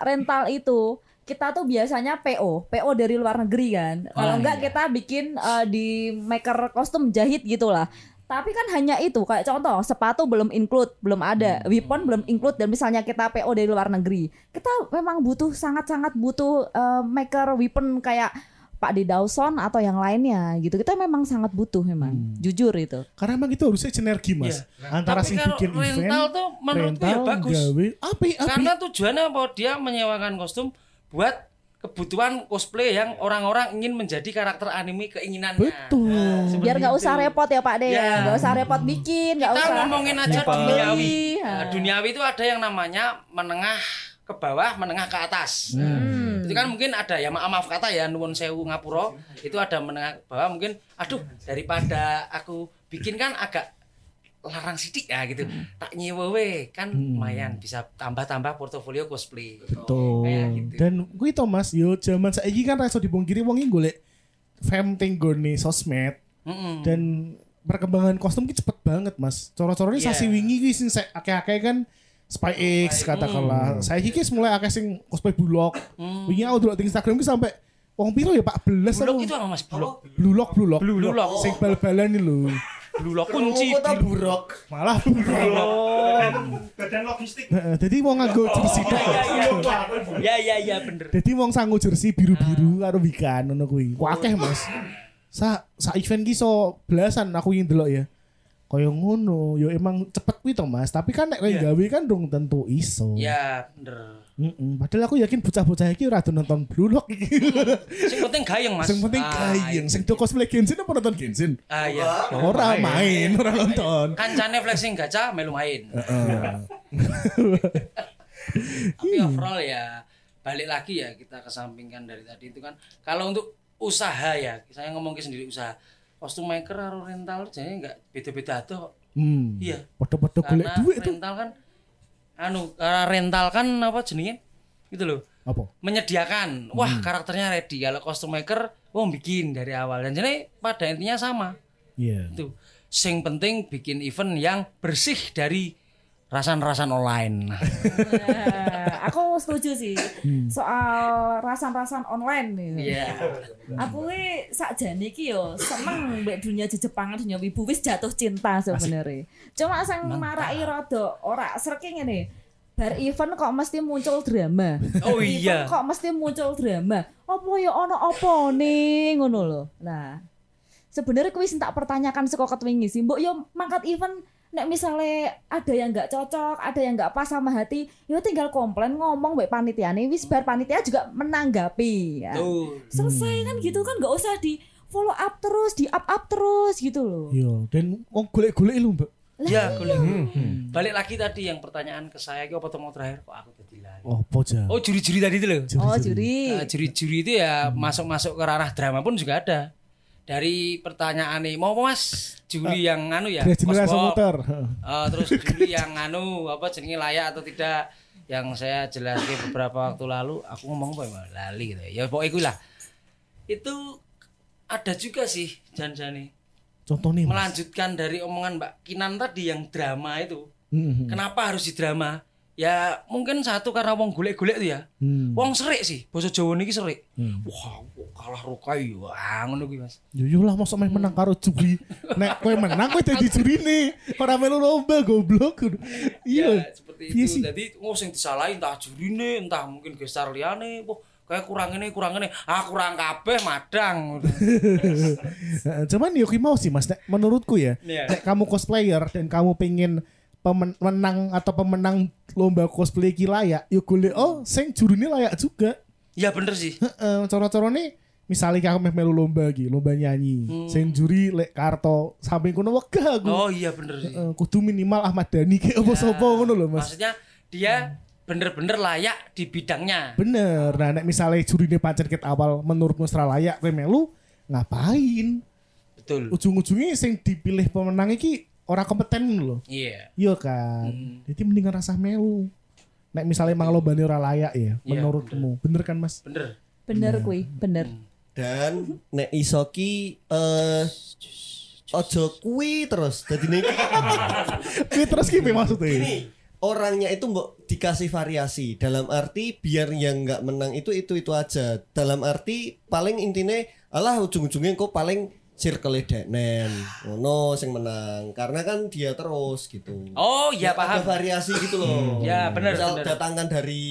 D: rental itu kita tuh biasanya PO, PO dari luar negeri kan. Kalau
E: Ah,
D: enggak
E: iya.
D: kita bikin eh, di maker kostum jahit gitulah. Tapi kan hanya itu, kayak contoh sepatu belum include, belum ada, weapon belum include dan misalnya kita PO dari luar negeri. Kita memang butuh sangat-sangat butuh eh, maker weapon kayak Pak D. Dawson atau yang lainnya gitu. Kita memang sangat butuh memang. Jujur itu.
C: Karena emang itu harusnya sinergi Mas. Antara
E: Iya. Tapi
C: sing
E: kalau
C: bikin
E: rental
C: event,
E: tuh menurutku ya bagus.
C: gawe ya, api api.
E: Karena tujuannya apa? Dia menyewakan kostum buat kebutuhan cosplay yang orang-orang ingin menjadi karakter anime keinginannya.
C: Betul.
D: biar nggak usah repot ya Pak De ya
E: Ya.
D: nggak usah repot bikin nggak
E: Kita
D: usah
E: ngomongin aja
D: repot
E: duniawi.
D: beli.
E: Nah, duniawi itu ada yang namanya menengah ke bawah, menengah ke atas.
D: Hmm.
E: itu kan mungkin ada ya maaf maaf kata ya nuwun sewu ngapura itu ada menengah ke bawah mungkin aduh daripada aku bikin kan agak larang sidik ya gitu
C: Hmm.
E: tak nyewa we kan lumayan bisa tambah-tambah portofolio cosplay kayak
C: Betul.
E: gitu
C: Dan gue tau mas, yo zaman saiki kan rasa dibungkiri wong iki golek fam tenggone sosmed
E: Mm-mm.
C: dan perkembangan kostum ki cepet banget mas. Coro-corone
E: Iya. Oh,
C: sasi wingi ki sing se- akeh-akeh kan Spy X katakanlah.
E: Hmm.
C: Saya iki ki mulai akeh sing cosplay bulog. Wingi aku delok di Instagram ki sampai wong piro ya 14
E: Blok itu apa mas blok
C: Blulok, blulok.
E: Blue Lock.
C: Sing bal-balan iki lho.
E: blok kunci
I: buruk.
C: Malah bulok.
F: badan logistik
C: Heeh, Jadi wong nganggo
E: Oh,
C: jersey tok.
E: iya, ya ya ya bener
C: Jadi wong sanggo jersey biru-biru
E: Ah.
C: karo wikan ngono kuwi. Wakeh, Mas. Sa sa event ki so belasan aku yang delok ya. Kaya ngono, yo emang cepet kuwi to, Mas. Tapi kan nek yeah.
E: Iya.
C: gawe kan dong tentu iso.
E: ya bener
C: Mm-mm. Padahal aku yakin bocah-bocah iki ora do nonton Blue Lock iki.
E: sing penting gayeng mas
C: Sing penting
E: Ah,
C: gayeng, sing do cosplay Genshin apa nonton Genshin?
E: ah ya
C: Ora main, ora nonton.
E: kancane flexing gacha melu main
C: Heeh.
E: tapi overall ya balik lagi ya kita kesampingkan dari tadi itu kan kalau untuk usaha ya saya ngomong ke sendiri usaha kostum maker atau rental jadi nggak beda-beda tuh
C: Hmm.
E: Iya.
C: Padha-padha golek
E: karena
C: duit tuh.
E: rental kan anu karena rental kan apa jenenge gitu loh
C: Apa?
E: menyediakan
C: Hmm.
E: wah karakternya ready kalau kostum maker wah bikin dari awal dan jadi pada intinya sama
C: Iya.
E: itu sing penting bikin event yang bersih dari rasan-rasan online
D: Eh, aku setuju sih soal rasan-rasan online nih.
E: Hmm. Iya.
D: Aku ki sakjane iki yo seneng mbek dunia jejepangan dunia wibu wis jatuh cinta sebenarnya. Cuma sing maraki rada ora serking ngene. Bar event kok mesti muncul drama.
E: Oh
D: Event
E: iya.
D: Kok mesti muncul drama. Apa ya ono apa nih ngono lho. Nah, sebenarnya kuwi sing tak pertanyakan saka ketwingi sih. Mbok yo mangkat event nek misalnya ada yang nggak cocok, ada yang nggak pas sama hati, yo tinggal komplain ngomong mbek panitiane wis bar panitia juga menanggapi ya.
E: tuh
D: Selesai kan gitu kan nggak usah di follow up terus, di up up terus gitu loh.
C: Yo, Iya. dan wong golek-golek lho, Mbak.
E: Ya, kuliah. Balik lagi tadi yang pertanyaan ke saya, apa mau terakhir kok aku tadi lagi.
C: Apa jan?
E: Oh, juri-juri tadi itu loh.
D: Oh, juri.
E: Nah, juri-juri itu ya masuk-masuk ke ranah drama pun juga ada. Dari pertanyaan nih, mau apa mas? Juri yang anu ya,
C: Gresi
E: Coswalk.
C: Motor.
E: Eh, terus juri yang anu apa jenenge layak atau tidak yang saya jelaskan beberapa waktu lalu aku ngomong apa ya lali gitu ya pokoknya gue lah itu ada juga sih janjani
C: Contohnya Mas.
E: melanjutkan dari omongan Mbak Kinan tadi yang drama itu
C: Mhm.
E: Kenapa harus di drama? Ya mungkin satu karena wong golek-golek tuh ya.
C: Hmm.
E: Wong serik sih, basa Jawa niki serik. Wah, kok kalah rokai wah ngono kuwi Mas.
C: Yo yo lah Ya mosok meh menang karo juri. Nek kowe menang kowe dadi jurine. Ora melu lomba goblok.
E: Ya,
C: Iya.
E: seperti
C: Iya
E: itu.
C: sih.
E: Jadi wong sing disalahin entah jurine, entah mungkin gestar liyane, wah kayak kurang ini, kurang ini. Ah, kurang kabeh madang.
C: Heeh, Cuman yo ki mau sih Mas nek menurutku ya.
E: Iya.
C: Nek kamu cosplayer dan kamu pengen pemenang atau pemenang lomba cosplay ki layak, yo golek oh sing jurine layak juga.
E: ya bener sih.
C: Heeh, cara-carane misalnya kayak aku meh melu lomba iki, lomba nyanyi. Sing juri lek karto samping kono wegah aku.
E: Hmm. Oh iya bener sih.
C: Heeh, kudu minimal Ahmad Dhani kayak apa sapa ngono lho Mas. Hmm.
E: Maksudnya dia bener-bener layak di bidangnya.
C: Bener. Nah, nek misalnya juri ini pancen ket awal menurutmu secara layak kowe melu ngapain?
E: Betul.
C: Ujung-ujungnya sing dipilih pemenang iki ora kompeten loh.
E: Iya.
C: Iya kan. Jadi mendingan rasa melu. Nek misalnya emang lo ora layak ya menurutmu. Bener kan Mas?
E: Bener.
D: Bener kui, bener.
I: Dan nek isoki eh ojo kui terus. Jadi nih
C: Kuwi terus ki piye maksudnya?
I: orangnya itu nggak dikasih variasi. Dalam arti biar yang nggak menang itu itu itu aja. Dalam arti paling intinya alah ujung-ujungnya kok paling circle denen ngono sing menang karena kan dia terus gitu
E: Oh, ya
I: ada
E: paham.
I: variasi gitu
A: Hmm.
I: loh.
E: Ya, benar,
I: Misal
E: benar.
I: datangkan dari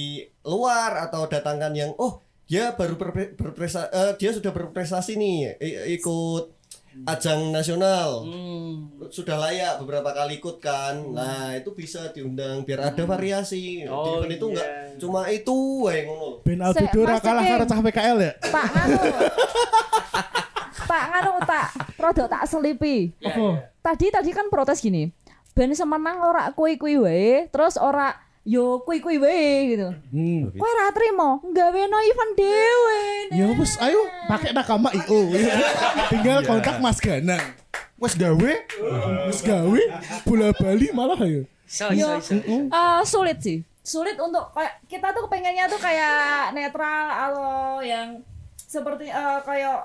I: luar atau datangkan yang oh dia baru berpre- berprestasi dia sudah berprestasi nih i- ikut ajang nasional
E: Hmm.
I: sudah layak beberapa kali ikut kan nah itu bisa diundang biar ada variasi di
E: Oh,
I: event itu
E: iya.
I: enggak cuma itu wae ngono loh.
C: Ben
D: Se-
C: Aldo ora
D: Mas
C: kalah karo
D: Ceking.
C: cah PKL ya?
D: Pak nganu. Pak nganu tak rada tak selipi. Tadi tadi kan protes gini. Ben semenang ora kui kui wae, terus ora yo kui kui wae gitu.
C: Hmm.
D: Kowe ra trimo nggawe no event dhewe. Nen.
C: Ya wes ayo pakai nakama IO. Tinggal kontak Mas Ganang. Wes gawe, wes gawe, bola Bali malah ya.
E: So, so, so.
C: Mm-mm.
D: Eh, sulit sih. Sulit untuk kayak kita tuh pengennya tuh kayak netral atau yang seperti eh, kayak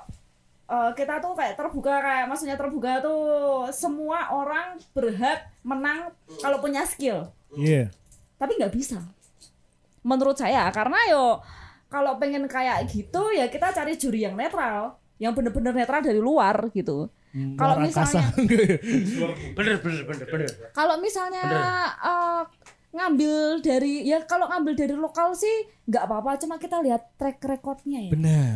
D: eh, kita tuh kayak terbuka kayak maksudnya terbuka tuh semua orang berhak menang kalau punya skill.
C: Iya.
D: tapi nggak bisa menurut saya karena yo kalau pengen kayak gitu ya kita cari juri yang netral yang bener-bener netral dari luar gitu kalau
C: Hmm, Luar angkasa.
D: misalnya
E: Bener, bener, bener, bener.
D: kalau misalnya eh, ngambil dari ya kalau ngambil dari lokal sih nggak apa-apa cuma kita lihat track recordnya ya
C: Benar.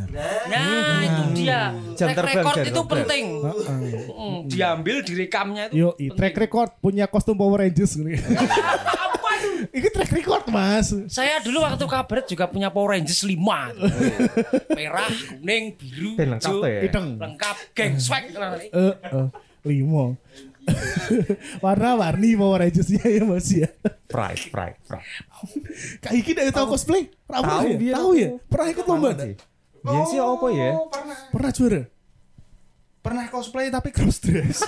E: Nah, itu dia.
A: Jam
E: Track
A: terbang,
E: record
A: jam
E: itu
A: terbang.
E: penting.
C: Heeh.
E: Mm, Diambil direkamnya itu.
C: Yo, i, track record punya kostum Power Rangers ini.
E: Apa itu?
C: Ini track record, Mas.
E: Saya dulu waktu kabaret juga punya Power Rangers 5. Merah, kuning, biru,
A: Ben lengkap
E: hijau.
A: tuh ya.
C: Ideng.
E: Lengkap, geng swag.
C: Eh, eh, limo. Warna-warni Power Rangers-nya ya, Mas ya.
A: Pride, pride, pride.
C: Kak Iki dari tahu cosplay? Tahu
A: Tahu,
C: ya?
A: biar
C: Tahu ya?
A: aku.
C: Pernah ikut lomba?
A: Apa sih? Iya sih apa ya?
H: Pernah
C: Pernah juara?
H: pernah cosplay tapi
C: Cross dress.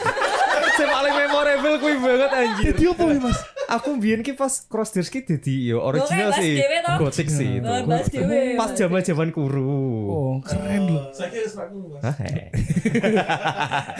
A: Saya paling memorable kuwi banget anjir.
C: Jadi apa ya, Mas?
A: Aku mbiyen ki pas cross dress ki dadi yo original
D: Oke, bahas
A: sih.
D: dhewe toh. Nah,
A: Gotik sih itu.
D: Bahas dhewe.
A: Pas zaman-zaman kuru.
C: Oh, keren loh.
A: Hah, eh.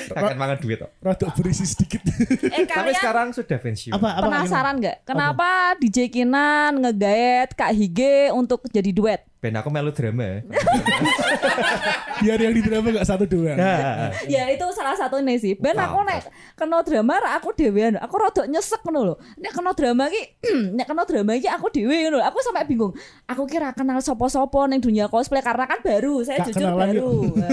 A: Kangen mangan duit toh.
C: Rada berisi sedikit.
D: eh
A: Tapi
D: kalian
A: sekarang sudah pensiun.
C: apa apa
D: penasaran nggak kenapa DJ Kinan ngegaet Kak Hige untuk jadi duet
A: Ben aku melu drama.
C: gimana? Biar yang di drama enggak satu doang.
A: Nah,
D: ya itu salah satunya sih ben aku
A: Mantap.
D: nek kena drama ra aku dhewean aku rodok nyesek ngono lho nek kena drama iki nek kena drama iki aku dhewe ngono lho. aku sampai bingung aku kira kenal sapa-sapa ning dunia cosplay karena kan baru saya
C: Gak
D: jujur
C: kenalan
D: baru Nah,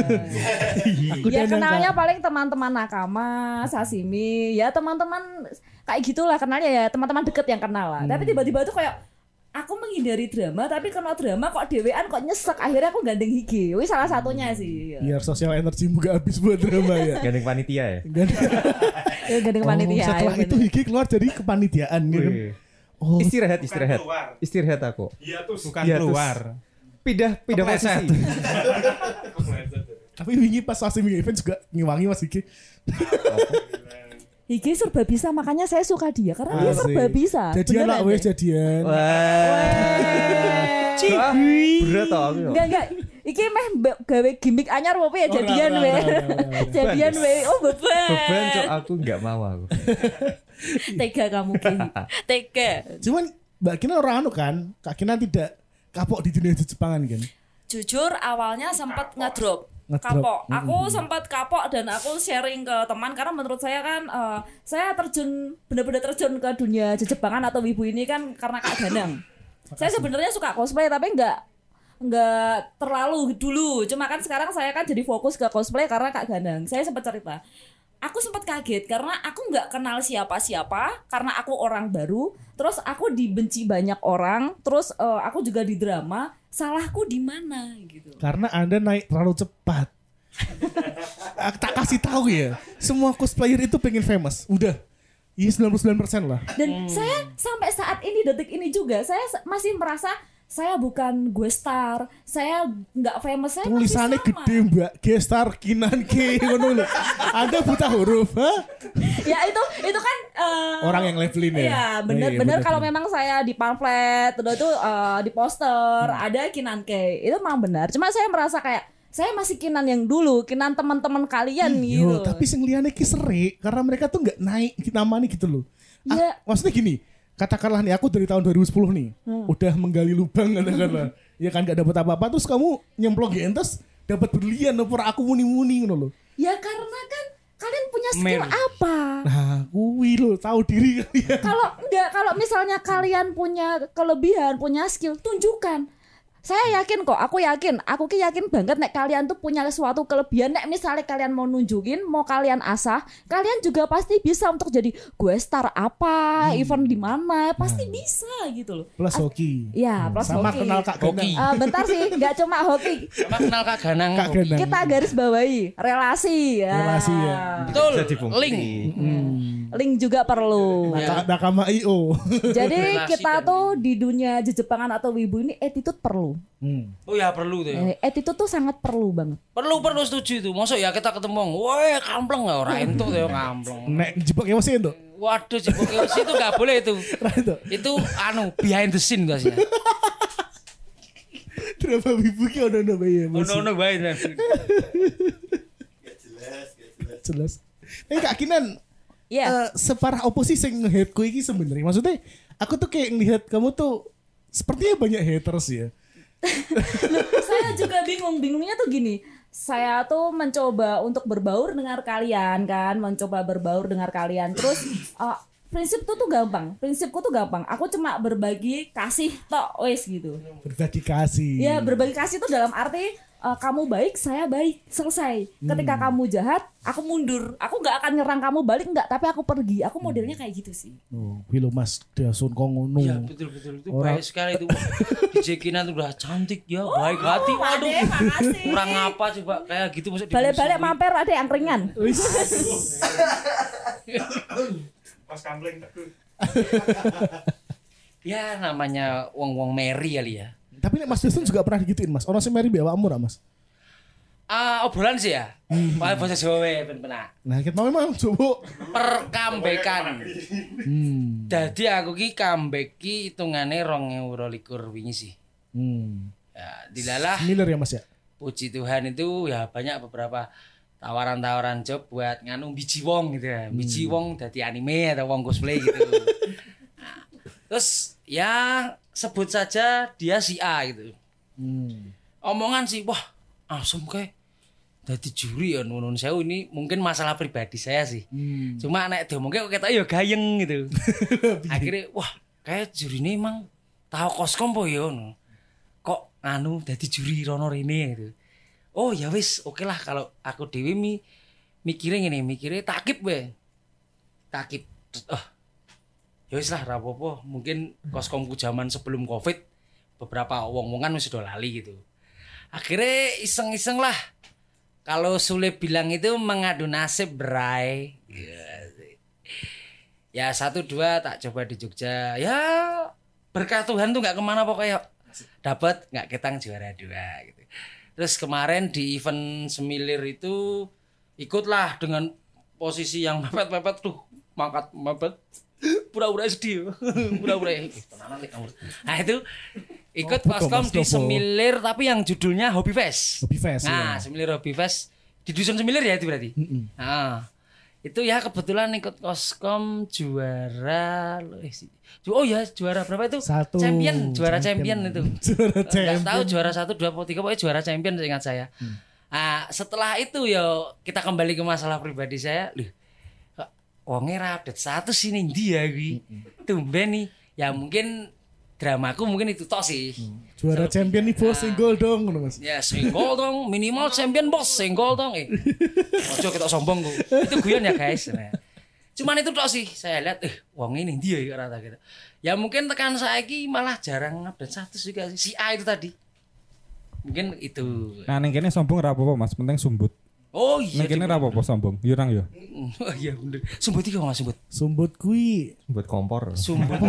C: yuk. Aku
D: ya
C: dandan,
D: kenalnya
C: Kak.
D: paling teman-teman nakama sashimi ya teman-teman kayak gitulah kenalnya ya teman-teman deket yang kenal lah
C: Hmm.
D: tapi tiba-tiba tuh kayak aku menghindari drama tapi kena drama kok dhewean kok nyesek akhirnya aku gandeng higi wih salah satunya
C: Hmm.
D: sih
C: biar sosial energi gak habis buat drama ya.
A: gandeng panitia ya.
C: Dan
D: Ya, gandeng
C: Oh,
D: panitia ya,
C: setelah itu
D: bener.
C: Hiki keluar jadi kepanitiaan ya kan.
A: Wih.
C: Oh,
A: Istirahat, istirahat.
F: keluar.
A: Istirahat aku.
F: Iya tuh. Bukan
A: Iya,
F: keluar.
A: Pindah, pindah posisi.
C: tapi wingi pas sashimi event juga ngiwangi Mas Hiki.
D: Higi serba bisa makanya saya suka dia karena dia
C: Asik.
D: Iya, serba bisa.
C: Jadian lah
D: Beneran
C: wes
D: deh.
C: jadian.
A: Wah. Wah, Berat toh aku.
D: Enggak enggak. Iki meh mbak gawe gimmick anyar
C: Oh,
D: apa ya jadian
C: ora,
D: we.
C: ora, ora, ora.
D: Jadian we. Oh beban.
A: Beban cok aku nggak mau aku.
D: Tega kamu Ki. Tega.
C: Cuman Mbak Kina orang anu kan, Kak Kina tidak kapok di dunia Jepangan kan.
D: Jujur awalnya sempat ngedrop.
C: Ngedrop.
D: Kapok. Aku sempat kapok dan aku sharing ke teman karena menurut saya kan eh, saya terjun benar-benar terjun ke dunia jejebangan atau wibu ini kan karena Kak Danang. saya sebenarnya suka cosplay tapi nggak nggak terlalu dulu cuma kan sekarang saya kan jadi fokus ke cosplay karena kak Ganang saya sempat cerita aku sempat kaget karena aku nggak kenal siapa-siapa karena aku orang baru terus aku dibenci banyak orang terus eh, aku juga di drama salahku di mana gitu
C: Karena Anda naik terlalu cepat. Aku tak kasih tahu ya, semua cosplayer itu pengen famous. Udah. Iya 99% lah.
D: dan saya sampai saat ini detik ini juga saya se- masih merasa saya bukan gue star saya nggak famous saya masih
C: Tulisannya
D: sama.
C: gede Mbak, Gestar Kinan Ki ngono lho. Anda buta huruf, ha?
D: ya itu itu kan eh,
C: Orang yang levelin ya?
D: Iya bener
C: Iya,
D: bener
C: bener.
D: kalau memang saya di pamflet udah itu eh, di poster
C: Hmm.
D: ada Kinan K itu memang benar cuma saya merasa kayak saya masih Kinan yang dulu Kinan teman-teman kalian gitu
C: Yo, Iya, tapi sing liyane ki seri karena mereka tuh nggak naik ki- namanya gitu loh. Ah,
D: Iya.
C: maksudnya gini, katakanlah nih aku dari tahun 2010 nih,
D: Hmm.
C: udah menggali lubang katakanlah. ya kan nggak dapat apa-apa terus kamu nyemplung di entes dapat berlian pura aku muni-muni ngono loh.
D: ya karena kan kalian punya skill
E: Men.
D: apa
C: Nah, kuwi lo tahu diri ya. kalian.
D: kalau enggak kalau misalnya kalian punya kelebihan punya skill tunjukkan saya yakin kok aku yakin aku ki yakin banget nek kalian tuh punya suatu kelebihan nek misalnya kalian mau nunjukin mau kalian asah kalian juga pasti bisa untuk jadi gue star apa
C: Hmm.
D: event di mana pasti bisa gitu loh
C: Plus hoki.
D: ya plus
C: Hmm. Sama
D: hoki.
C: kenal Kak Ganang.
E: Hoki.
D: Eh, bentar sih nggak cuma hoki
E: Sama kenal Kak Ganang.
C: Kak Ganang.
D: kita garis bawahi relasi ya
C: gitu. Relasi ya.
E: Betul.
A: Bisa dipungkiri.
E: Link.
D: link juga perlu.
C: Naka- Nakama IO.
D: Jadi
E: Relasi
D: kita
E: dan-
D: tuh di dunia jejepangan atau wibu ini attitude perlu.
E: Oh ya perlu tuh.
D: Eh,
E: Ya.
D: attitude tuh sangat perlu banget.
E: Perlu perlu setuju tuh. Masuk ya kita ketemu. Wah, kampleng ya orang itu tuh ya kampleng.
C: Nek jebak emosi itu.
E: Waduh, jebok emosi itu nggak boleh itu.
C: Nah, Itu
E: Itu anu behind the scene ya. tuh aslinya.
C: drama wibu ki Iya, ono ono bayi
E: Oh no
C: emosi.
E: no behind the scene.
C: Jelas. Tapi Kak Kinan,
D: Iya.
C: eh, separah oposisi sing nge-hate ku iki sebenarnya. Maksudnya aku tuh kayak ngelihat kamu tuh sepertinya banyak haters ya.
D: saya juga bingung bingungnya tuh gini saya tuh mencoba untuk berbaur dengan kalian kan mencoba berbaur dengan kalian terus eh, prinsip tuh tuh gampang prinsipku tuh gampang aku cuma berbagi kasih tok wes gitu
C: Berbagi kasih.
D: ya berbagi kasih tuh dalam arti eh, kamu baik saya baik selesai ketika kamu jahat aku mundur aku nggak akan nyerang kamu balik nggak tapi aku pergi aku modelnya kayak gitu sih
C: Oh, Wilo Mas Dasun kok ngono.
E: Ya betul betul itu
C: Iya. Orang-
E: baik sekali itu. Dijekinan tuh udah cantik ya, baik hati. Waduh.
D: Ade, makasih.
E: Kurang apa coba kayak gitu maksudnya
D: balik-balik mampir ada angkringan
C: Wis.
F: Pas kampleng teguh.
E: Ya namanya wong-wong Mary kali ya.
C: Tapi nek Mas Dasun juga pernah digituin Mas. Ono sing meri mbek awakmu ra Mas?
E: Ah, obrolan sih ya.
C: Hmm.
E: Pakai bahasa Jawa ya, ben benar.
C: Nah, kita mau memang coba.
E: Perkambekan.
C: Hmm,
E: Jadi aku ki comeback ki hitungane 2022 wingi sih.
C: Hmm.
E: Ya, dilalah
C: Miller ya Mas ya.
E: puji Tuhan itu ya banyak beberapa tawaran-tawaran job buat nganu biji wong gitu ya. Biji wong dari anime atau wong cosplay gitu. Nah, Terus ya sebut saja dia si A gitu.
C: Hmm.
E: Omongan sih, wah asem kayak dari juri ya nunun saya ini mungkin masalah pribadi saya sih. Cuma anak itu mungkin kok kata ya gayeng gitu. Akhirnya wah kayak juri ini emang tahu koskom po ya ngono. Kok anu dari juri Rono Rene gitu. Oh ya wis oke lah kalau aku dewi mi mikirnya gini mikirnya takip be takip oh, ya wis lah rapopo mungkin koskomku zaman sebelum covid beberapa wong-wongan wis udah lali gitu akhirnya iseng-iseng lah kalau Sule bilang itu mengadu nasib berai ya satu dua tak coba di Jogja ya berkat Tuhan tuh nggak kemana pokoknya dapat nggak ketang juara dua gitu terus kemarin di event semilir itu ikutlah dengan posisi yang mepet-mepet tuh mangkat mepet pura-pura sedih pura-pura "Ih, tenanan nih kamu." nah itu ikut
C: Apa tuh,
E: paskom
C: Mas
E: di
C: Novo?
E: semilir tapi yang judulnya Hobby Fest
C: Hobi fest. iya.
E: Nah, Semilir Hobi Fest di dusun Semilir ya itu berarti. Nah, itu ya kebetulan ikut koskom juara eh, si- ju- oh ya juara berapa itu
C: Satu.
E: champion juara champion, itu Eh,
C: Juara
E: nggak
C: champion. Hmm.
E: tahu juara satu dua atau tiga pokoknya juara champion seingat saya Ah, setelah itu ya kita kembali ke masalah pribadi saya Loh, kok wongnya ra update satu sini dia gue ya, tumben nih ya mungkin dramaku mungkin itu toh sih
C: Hmm. Juara champion nih bos single dong ngono Mas.
E: Ya senggol dong minimal champion bos senggol dong eh. Ojo kita sombong kok. Itu guyon ya guys. Nah. Cuman itu tok sih saya lihat eh wong ini dia ya rata gitu. Ya mungkin tekan saya ini malah jarang update status juga sih. Si A itu tadi. Mungkin itu.
G: Nah, ning kene sombong ra apa-apa, Mas, penting sumbut.
E: Oh iya.
G: Ning kene ra apa-apa sombong. Yurang yo.
E: Oh iya bener. Sumbut iki kok Mas sumbut.
C: Sumbut kui.
A: buat kompor
E: Sumbut.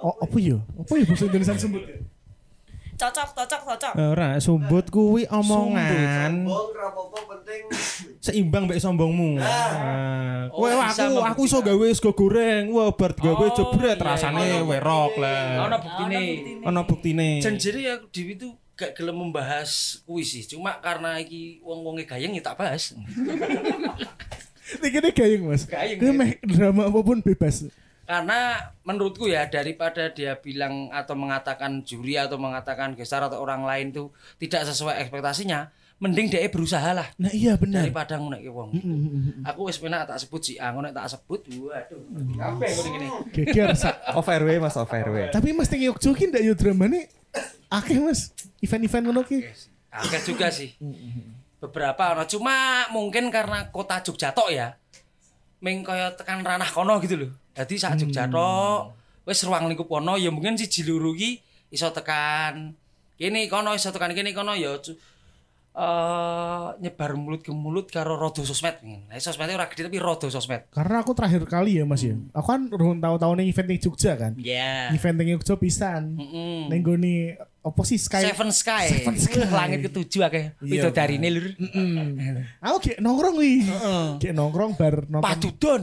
C: Oh, apa ya? Apa ya bahasa Indonesia sumbut? ya?
D: cocok cocok cocok
G: Eh, Ora, sumbut kuwi omongan
I: Bong rapopo penting.
G: seimbang mbek sombongmu. Nah,
E: Ah. Oh,
G: kowe
E: bisa
G: aku aku iso gawe sego goreng, wah bar gawe
E: Oh,
G: jebret
E: iya,
G: rasane
E: iya.
G: werok
E: Ono
G: lah.
E: buktine.
G: Ono buktine.
E: Janjiri aku ya, Dewi itu gak gelem membahas kuis sih. Cuma karena iki wong-wonge gayeng ya tak bahas.
C: Ini gini gayung mas. Ini
E: Gayung, gayung.
C: meh drama apapun bebas.
E: karena menurutku ya daripada dia bilang atau mengatakan juri atau mengatakan gestar atau orang lain tuh tidak sesuai ekspektasinya mending dia berusaha lah
C: Nah iya benar.
E: daripada ngono ke wong aku wis penak tak sebut si A ngono tak sebut waduh kabeh ngono ngene
C: Geger. Sa.
A: off airway mas off airway
C: Tapi mas tinggi yuk jokin ndak yo drama nih. Akeh mas. Event-event ngono ki.
E: agak juga sih beberapa ono cuma mungkin karena kota Jogja tok ya ming kaya tekan ranah kono gitu loh jadi sak
C: Hmm.
E: Jogja tok wis ruang lingkup kono ya mungkin si jiluru ki iso tekan kene kono iso tekan kene kono ya cu- eh, nyebar mulut ke mulut karo rodo sosmed. Nah, sosmednya ora gede tapi rodo sosmed.
C: Karena aku terakhir kali ya Mas ya. Aku kan tahun tahu-tahu nih event di Jogja kan.
E: Ya.
C: Event di Jogja pisan.
E: Mm-mm.
C: Neng goni apa sih Sky?
E: Seven Sky.
C: Seven Sky.
E: Langit ketujuh akeh.
C: Iya,
E: Itu dari ini lur.
C: Mm. Aku kayak nongkrong wih. Kayak nongkrong bar nonton.
E: Padudon.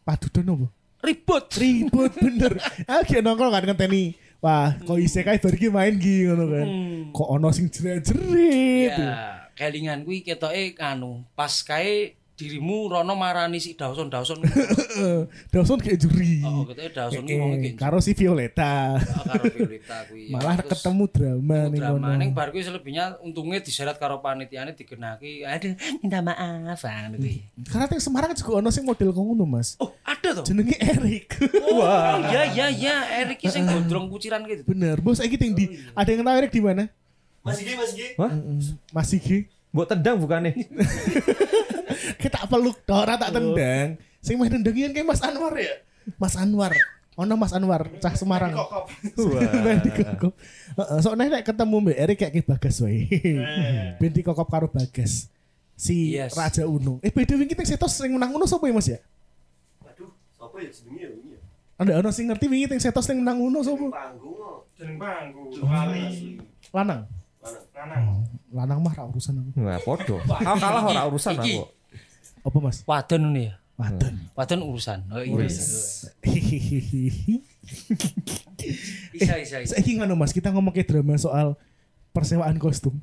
C: Padudon apa?
E: Ribut.
C: Ribut bener. Aku kayak nongkrong kan ngenteni. Wah, kok isekai bar iki main ki ngono kan.
E: Mm.
C: Kok ono sing jerit-jerit.
E: Ya, kelingan kuwi ketoke anu, pas kae dirimu rono marani si Dawson-Dawson.
C: Heeh. Eh, Dawson kayak juri.
E: Oh, ketoke Dawson kuwi wong
C: Heeh,
E: iki. Oh,
C: Karo si Violeta.
E: karo Violeta kuwi.
C: Malah
E: Iya, Terus
C: ketemu drama nih
E: drama ning bar kuwi selebihnya untungnya diseret karo panitiane digenaki. Aduh, minta maaf anu kuwi.
C: Karena yang Semarang juga ono sing model kok ngono, Mas.
E: Oh, ada toh.
C: Jenenge Erik.
E: Wah. iya iya iya, Erik iki sing gondrong kuciran gitu.
C: Bener, bos iki ting di. Ada yang tahu Erik di mana?
I: Oh, iya. Mas Gigi, Mas Gigi.
C: Mas Iki.
A: Buat tendang bukan nih?
C: Kita peluk tok, ora tak tendang. Sing main tendangian kayak Mas Anwar ya. Mas Anwar. Ono Mas Anwar, cah Semarang. Ben dikokop. Heeh, sok nek nek ketemu Mbak Erik kayak kayak Bagas wae.
I: Eh.
C: Ben dikokop karo Bagas. Si
E: Yes.
C: Raja Uno. Eh beda wingi teng setos sing menang Uno sapa ya Mas ya?
I: Waduh, sapa ya jenenge ya wingi ya?
C: Ada ono sing ngerti wingi teng setos sing menang Uno sapa?
I: Panggung kok.
F: jeneng bangku wali
C: Lanang. Oh,
F: lanang
C: Lanang mah ra urusan aku.
A: Wah, podo. Aku kalah ora urusan
E: Iki.
A: aku.
C: Apa Mas?
E: Wadon ini ya.
C: Wadon.
E: Wadon urusan. Oh iya.
C: Hihihihi.
E: Bisa bisa bisa.
C: Saiki ngono Mas, kita ngomong ke drama soal persewaan kostum.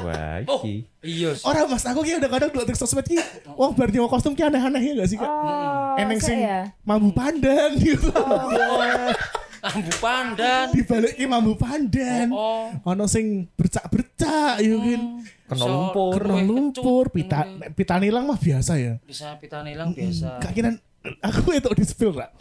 A: Wah,
E: Oh,
A: iki.
E: iya.
C: Orang Mas, aku ki udah kadang dulu teks sosmed ki, wong bar nyewa kostum ki aneh-aneh ya gak sih, Kak?
D: Oh,
C: Eneng
D: saya
C: sing
D: ya.
C: mambu pandan gitu.
E: Ambu pandan.
C: Di balik ki mambu pandan.
E: Oh.
C: Ono sing bercak-bercak ya kan.
A: Kena lumpur.
C: Kena lumpur, pita nek pitan ilang mah biasa ya.
E: Bisa pitan hilang biasa.
C: Kak Kinan, aku itu di spill, Kak.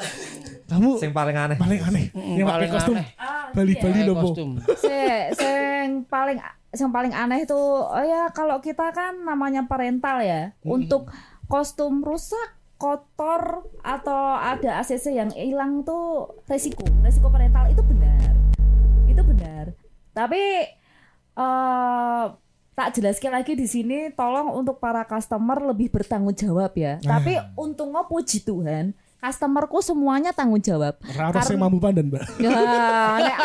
C: Kamu
A: Sing paling aneh.
C: paling Eh, aneh yang pakai
E: paling
C: kostum
E: aneh.
D: Ah, iya.
C: Bali-bali
E: Pakai
C: lopo.
E: kostum.
D: Se- sing paling yang paling aneh itu oh ya kalau kita kan namanya parental ya untuk kostum rusak kotor atau ada ACC yang hilang tuh resiko resiko parental itu benar itu benar tapi eh tak jelaskan lagi di sini tolong untuk para customer lebih bertanggung jawab ya tapi untungnya puji Tuhan customerku semuanya tanggung jawab
C: Raro sing
D: Karena-
C: mambu pandan, Mbak.
D: Ya, nek,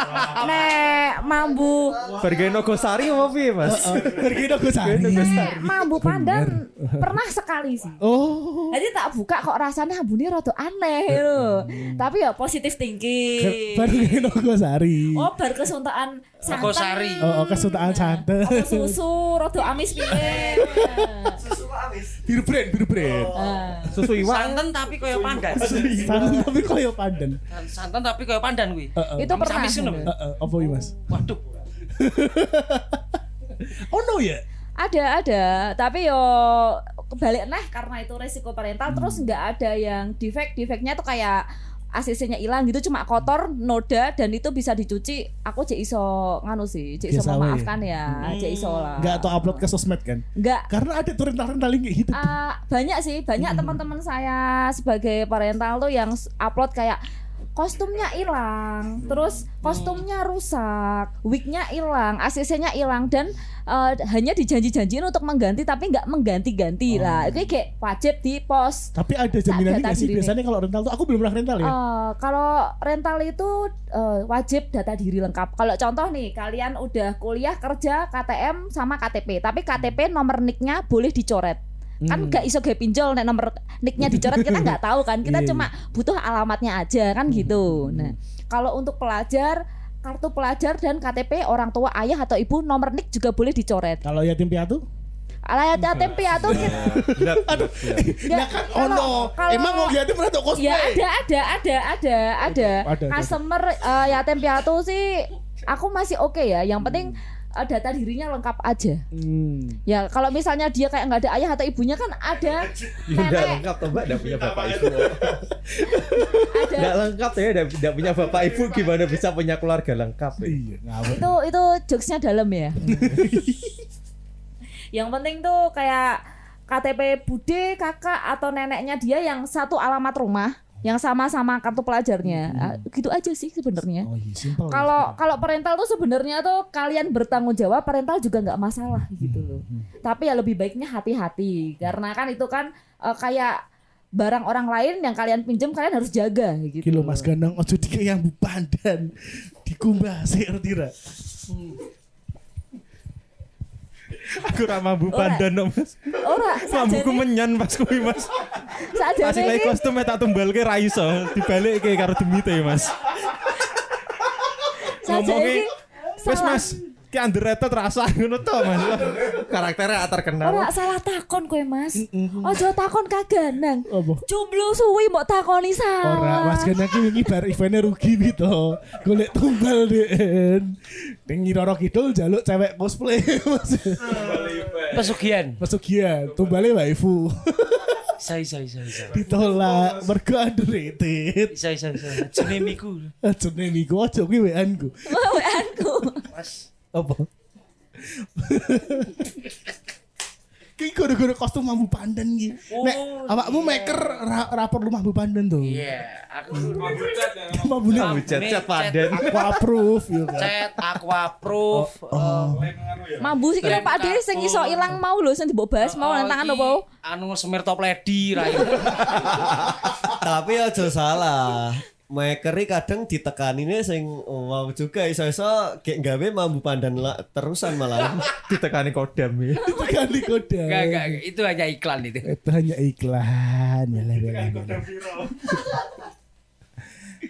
D: nek mambu,
A: Bergeno Gosari apa piye,
C: Oh,
A: Mas?
C: Bergino Gosari.
D: nek mambu pandan pernah sekali sih.
C: Oh.
D: Jadi tak buka kok rasanya ambune rada aneh lho. Tapi ya positif tinggi.
C: Bergino Gosari.
D: Oh, bar kesuntaan santan.
E: Sari.
C: Oh, oh, kesuntaan santan.
D: Apa susu rada amis piye. Eh,
I: Susu habis.
C: Biru brand, biru brand.
D: Nah,
A: Susu iwak.
E: Santan tapi koyo pandan.
C: Santan tapi koyo pandan.
E: Santan tapi koyo pandan kuwi.
D: itu
E: Amis-
D: pernah.
E: amis ngono.
C: Heeh, eh, apa iki, Mas?
E: Waduh.
C: Oh no ya.
D: Ada, ada. Tapi yo kebalik nah karena itu resiko parental terus
C: Hmm.
D: nggak ada yang defect. Defectnya tuh kayak ACC-nya hilang gitu cuma kotor, noda dan itu bisa dicuci. Aku cek iso nganu sih, cek iso
C: Biasa wae.
D: memaafkan ya, cek iso lah.
C: Enggak atau upload ke sosmed kan?
D: Nggak.
C: Karena ada tuh rental-rental yang kayak gitu.
D: Ah, banyak sih, banyak teman-teman saya sebagai parental tuh yang s- upload kayak kostumnya hilang, terus kostumnya rusak, wignya hilang, ACC-nya hilang dan eh, hanya dijanji-janjiin untuk mengganti tapi nggak mengganti-ganti lah. Itu kayak wajib di post
C: Tapi ada jaminan
D: data
C: nggak sih
D: diri.
C: biasanya kalau rental tuh aku belum pernah rental ya.
D: Eh, kalau rental itu eh, wajib data diri lengkap. Kalau contoh nih, kalian udah kuliah kerja KTM sama KTP, tapi KTP nomor nicknya boleh dicoret.
C: Hmm.
D: Kan nggak iso gawe pinjol nek nomor nicknya dicoret kita nggak tahu kan. Kita
C: Iya, Hmm.
D: cuma butuh alamatnya aja kan gitu. Nah, kalau untuk pelajar kartu pelajar dan KTP orang tua ayah atau ibu nomor nick juga boleh dicoret.
C: Kalau yatim piatu?
D: Alah KTP atau
C: Ya kan oh no. Emang mau yatim piatu
D: Ya
C: cosplay?
D: ada ada ada ada ada.
C: Ada, ada.
D: Customer eh, yatim piatu sih aku masih oke ya. Yang penting eh, data dirinya lengkap aja.
C: Hmm.
D: Ya kalau misalnya dia kayak nggak ada ayah atau ibunya kan ada
A: Udah
D: nenek,
A: lengkap toh, Mbak? Enggak punya bapak ibu.
D: ada
A: Enggak lengkap ya, enggak punya bapak ibu gimana bisa punya keluarga lengkap ya?
C: Iya, ngawur.
D: itu itu jokesnya dalam ya. yang penting tuh kayak KTP bude kakak atau neneknya dia yang satu alamat rumah. yang sama-sama kartu pelajarnya. Ah, Gitu aja sih sebenarnya.
C: Hmm. Oh iya, simpel.
D: Kalau kalau parental tuh sebenarnya tuh kalian bertanggung jawab, parental juga nggak masalah
C: Hmm,
D: gitu loh. Tapi ya lebih baiknya hati-hati karena kan itu kan eh, kayak barang orang lain yang kalian pinjem kalian harus jaga gitu.
C: Kilo Mas Ganang ojo dikek yang pandan dikumbah sik ngerti ra.
G: Aku ra mambu
D: Ora.
G: pandan no, Mas.
D: Ora, sajane
G: Mambuku menyan pas kuwi Mas.
D: sajane
G: Masih lagi
D: iki-
G: kostum tak tumbalke ra iso, dibalikke karo demite Mas.
D: sajane
G: ngomongnya,
D: iki
G: Wes
D: salah-
G: Mas, ki underrated rasa ngono to Mas.
A: Karakternya terkenal.
D: Ora salah takon kowe, Mas. Ojo takon kaganang.
C: Apa?
D: Jumlu suwi mbok takoni salah.
C: Ora, Mas Ganang ki wingi bar eventnya rugi pi to. Golek tumbal den. Ning Nyiroro Kidul jaluk cewek cosplay Mas.
E: Pesugihan.
C: Pesugihan, tumbale waifu.
E: Isa isa isa isa.
C: Ditolak mergo underrated.
E: Isa isa isa. Jenemiku.
C: Ajene niku ojo kuwi WN ku.
D: Weweanku.
E: Mas.
C: Apa? Ki gara-gara kostum mambu pandan ki. Nek
E: Oh,
C: awakmu maker ra, ra perlu mambu pandan tuh.
E: Iya,
C: Mm.
E: aku
C: Mambu ne
A: Cat
E: Nih,
A: cat pandan.
C: aku approve ya kan.
E: Cet, aqua proof.
C: Oh,
D: Mambu sih kira Pak Ade sing iso ilang mau lho sing dibok bahas mau nang tangan opo.
E: Eh, Anu semir top lady ra.
I: Tapi aja salah. Makeri kadang ditekaninnya sing wow juga iso-iso kayak gawe mambu pandan la, terusan malah.
A: Ditekani kodam ya.
C: Ditekani koda.
E: Enggak enggak, itu hanya iklan itu.
C: Itu hanya iklan. Melah, melah, melah.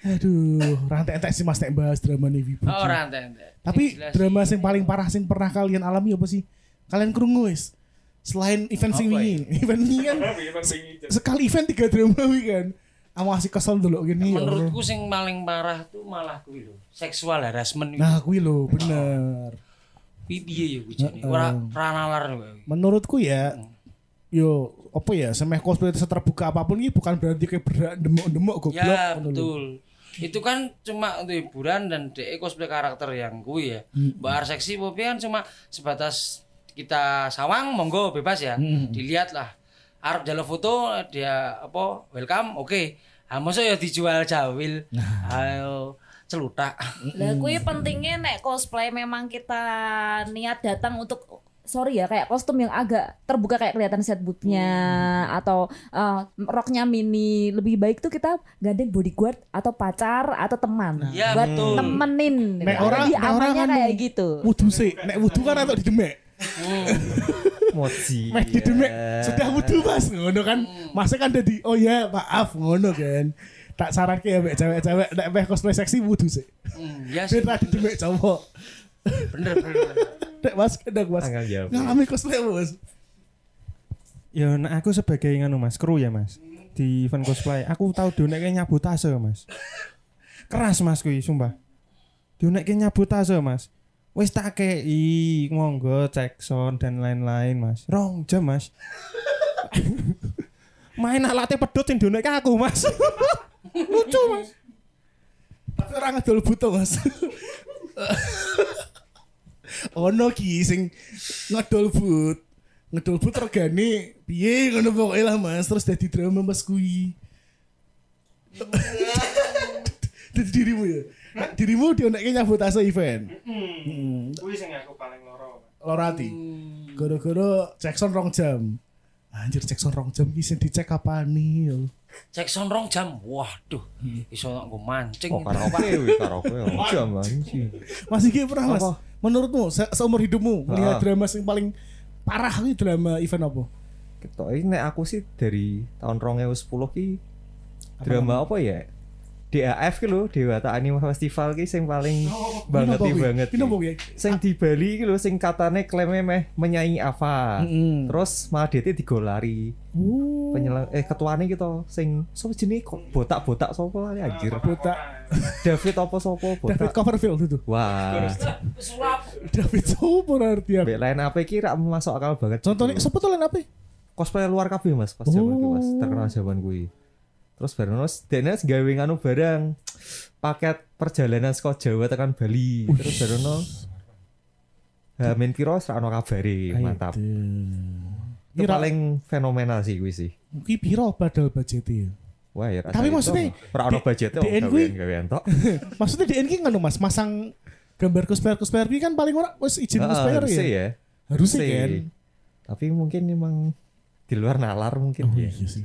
C: Aduh, rantai entek sih Mas nek bahas drama nih Wibu.
E: Oh, ora ente.
C: Tapi drama sing paling parah sing pernah kalian alami apa sih? Kalian krungu wis. Selain event sing
E: Apa ya?
C: wingi, event wingi kan sekali event tiga drama wingi kan. Aku masih kesel dulu gini ya. Allah.
E: menurutku sing paling parah tuh malah kuwi lho, seksual harassment
C: Nah, kuwi lho, bener.
E: kuwi piye ya kuwi jane. Ora ora nalar kuwi.
C: Menurutku ya yo apa ya semeh cosplay seterbuka apapun ini bukan berarti kayak berdak demok-demok goblok
E: Ya
C: ngono lho.
E: betul. Itu kan cuma untuk hiburan dan DE cosplay karakter yang kui ya.
C: Hmm.
E: Bahar seksi popi kan cuma sebatas kita sawang monggo bebas ya.
C: Hmm.
E: Dilihat lah. Arab jalur foto dia apa welcome oke. Ah masa ya dijual jawil.
C: Nah.
E: Ayo celutak.
D: Lah kuwi pentingnya nek cosplay memang kita niat datang untuk sorry ya kayak kostum yang agak terbuka kayak kelihatan set bootnya
C: Mm.
D: atau eh, roknya mini lebih baik tuh kita gandeng bodyguard atau pacar atau teman
E: Ya,
D: buat
E: betul.
D: temenin
C: Nah, Nek
D: Jadi
C: ora nek kan ora
D: amannya
C: nganu.
D: kayak gitu
C: Wudu sih, nek wudu kan atau didemek.
A: Moji.
C: Meh didemek,
I: Iya.
C: sudah wudu Mas ngono kan. Masa kan jadi oh ya maaf ngono kan. Tak saranke ya mek cewek-cewek nek meh cosplay seksi wudu sih.
E: Hmm, ya sih.
C: Ben ra didemek cowok.
E: Bener bener. bener.
C: Nek Mas kadang Mas.
A: Tanggal jawab.
C: Ngalami cosplay Mas.
G: Ya nek aku sebagai nganu Mas, kru ya Mas. Di event cosplay, aku tahu dionekke nyabu tase Mas. Keras Mas kuwi, sumpah. Dionekke nyabu tase Mas. Wis tak kei monggo cek sound dan lain-lain Mas. Rong jam Mas. Main alatnya pedot yang dionekke aku Mas. Lucu Mas.
C: Tapi orang ngedol butuh Mas. Ono ki sing ngedol but. Ngedol but regane piye ngono pokoke lah Mas, terus dadi drama Mas kuwi. Dadi dirimu ya. Nek Dirimu dionekke nyambut ase event.
F: Kuwi sing aku paling loro. Mm.
C: Lorati. Gara-gara Jackson rong jam. Anjir Jackson rong jam iki sing dicek kapan nih? ya?
E: Cek son rong jam. Waduh,
C: Hmm.
E: iso nggo mancing.
A: Oh karaoke wih karaoke. ya. Jam anjing.
C: Mas iki pernah Mas. Menurutmu se- seumur hidupmu
A: Ah.
C: melihat drama sing paling parah iki drama event apa?
A: Ketok ini nek aku sih dari tahun 2010 ki drama apa ya? DAF ki lho, Dewata Anime Festival ki sing paling banget
C: Oh, Ini apa,
A: nih
C: Wi?
A: banget. ya.
C: Ini apa, Wi?
A: Sing di Bali ki lho sing katane klaimnya meh menyanyi apa.
C: Mm-mm. Oh.
A: Terus malah DT digolari. Penyelang eh ketuane gitu sing sapa jenenge kok botak-botak sapa lali anjir.
C: Ah, Botak
A: David apa sapa
C: David
A: botak.
C: Copperfield itu.
A: Wah,
C: David Sopo berarti ya.
A: mbek lain apa iki rak masuk akal banget.
C: Contohnya
A: Gitu.
C: siapa tuh lain apa?
A: cosplay luar kabeh mas pas zaman kuwi mas
C: Oh.
A: terkenal zaman kuwi terus bareng terus dene gawe nganu barang paket perjalanan saka Jawa tekan Bali terus bareng no Hamin piro ora ono kabare mantap
C: Ini
A: itu paling fenomenal sih kuwi sih
C: Ki piro padahal budget ya?
A: Wah, ya
C: Tapi maksudnya,
A: ora ono
C: di-
A: budgete
C: di
A: wong
C: end kui-
A: gawean-gawean tok.
C: Maksudnya di NK ngono Mas, masang gambar cosplayer cosplayer ini kan paling ora wis izin
A: Heeh,
C: cosplayer
A: harusnya
C: ya.
A: ya.
C: Harusnya
A: Harusnya.
C: kan.
A: Tapi mungkin emang di luar nalar mungkin
C: Oh
A: ya.
C: iya sih.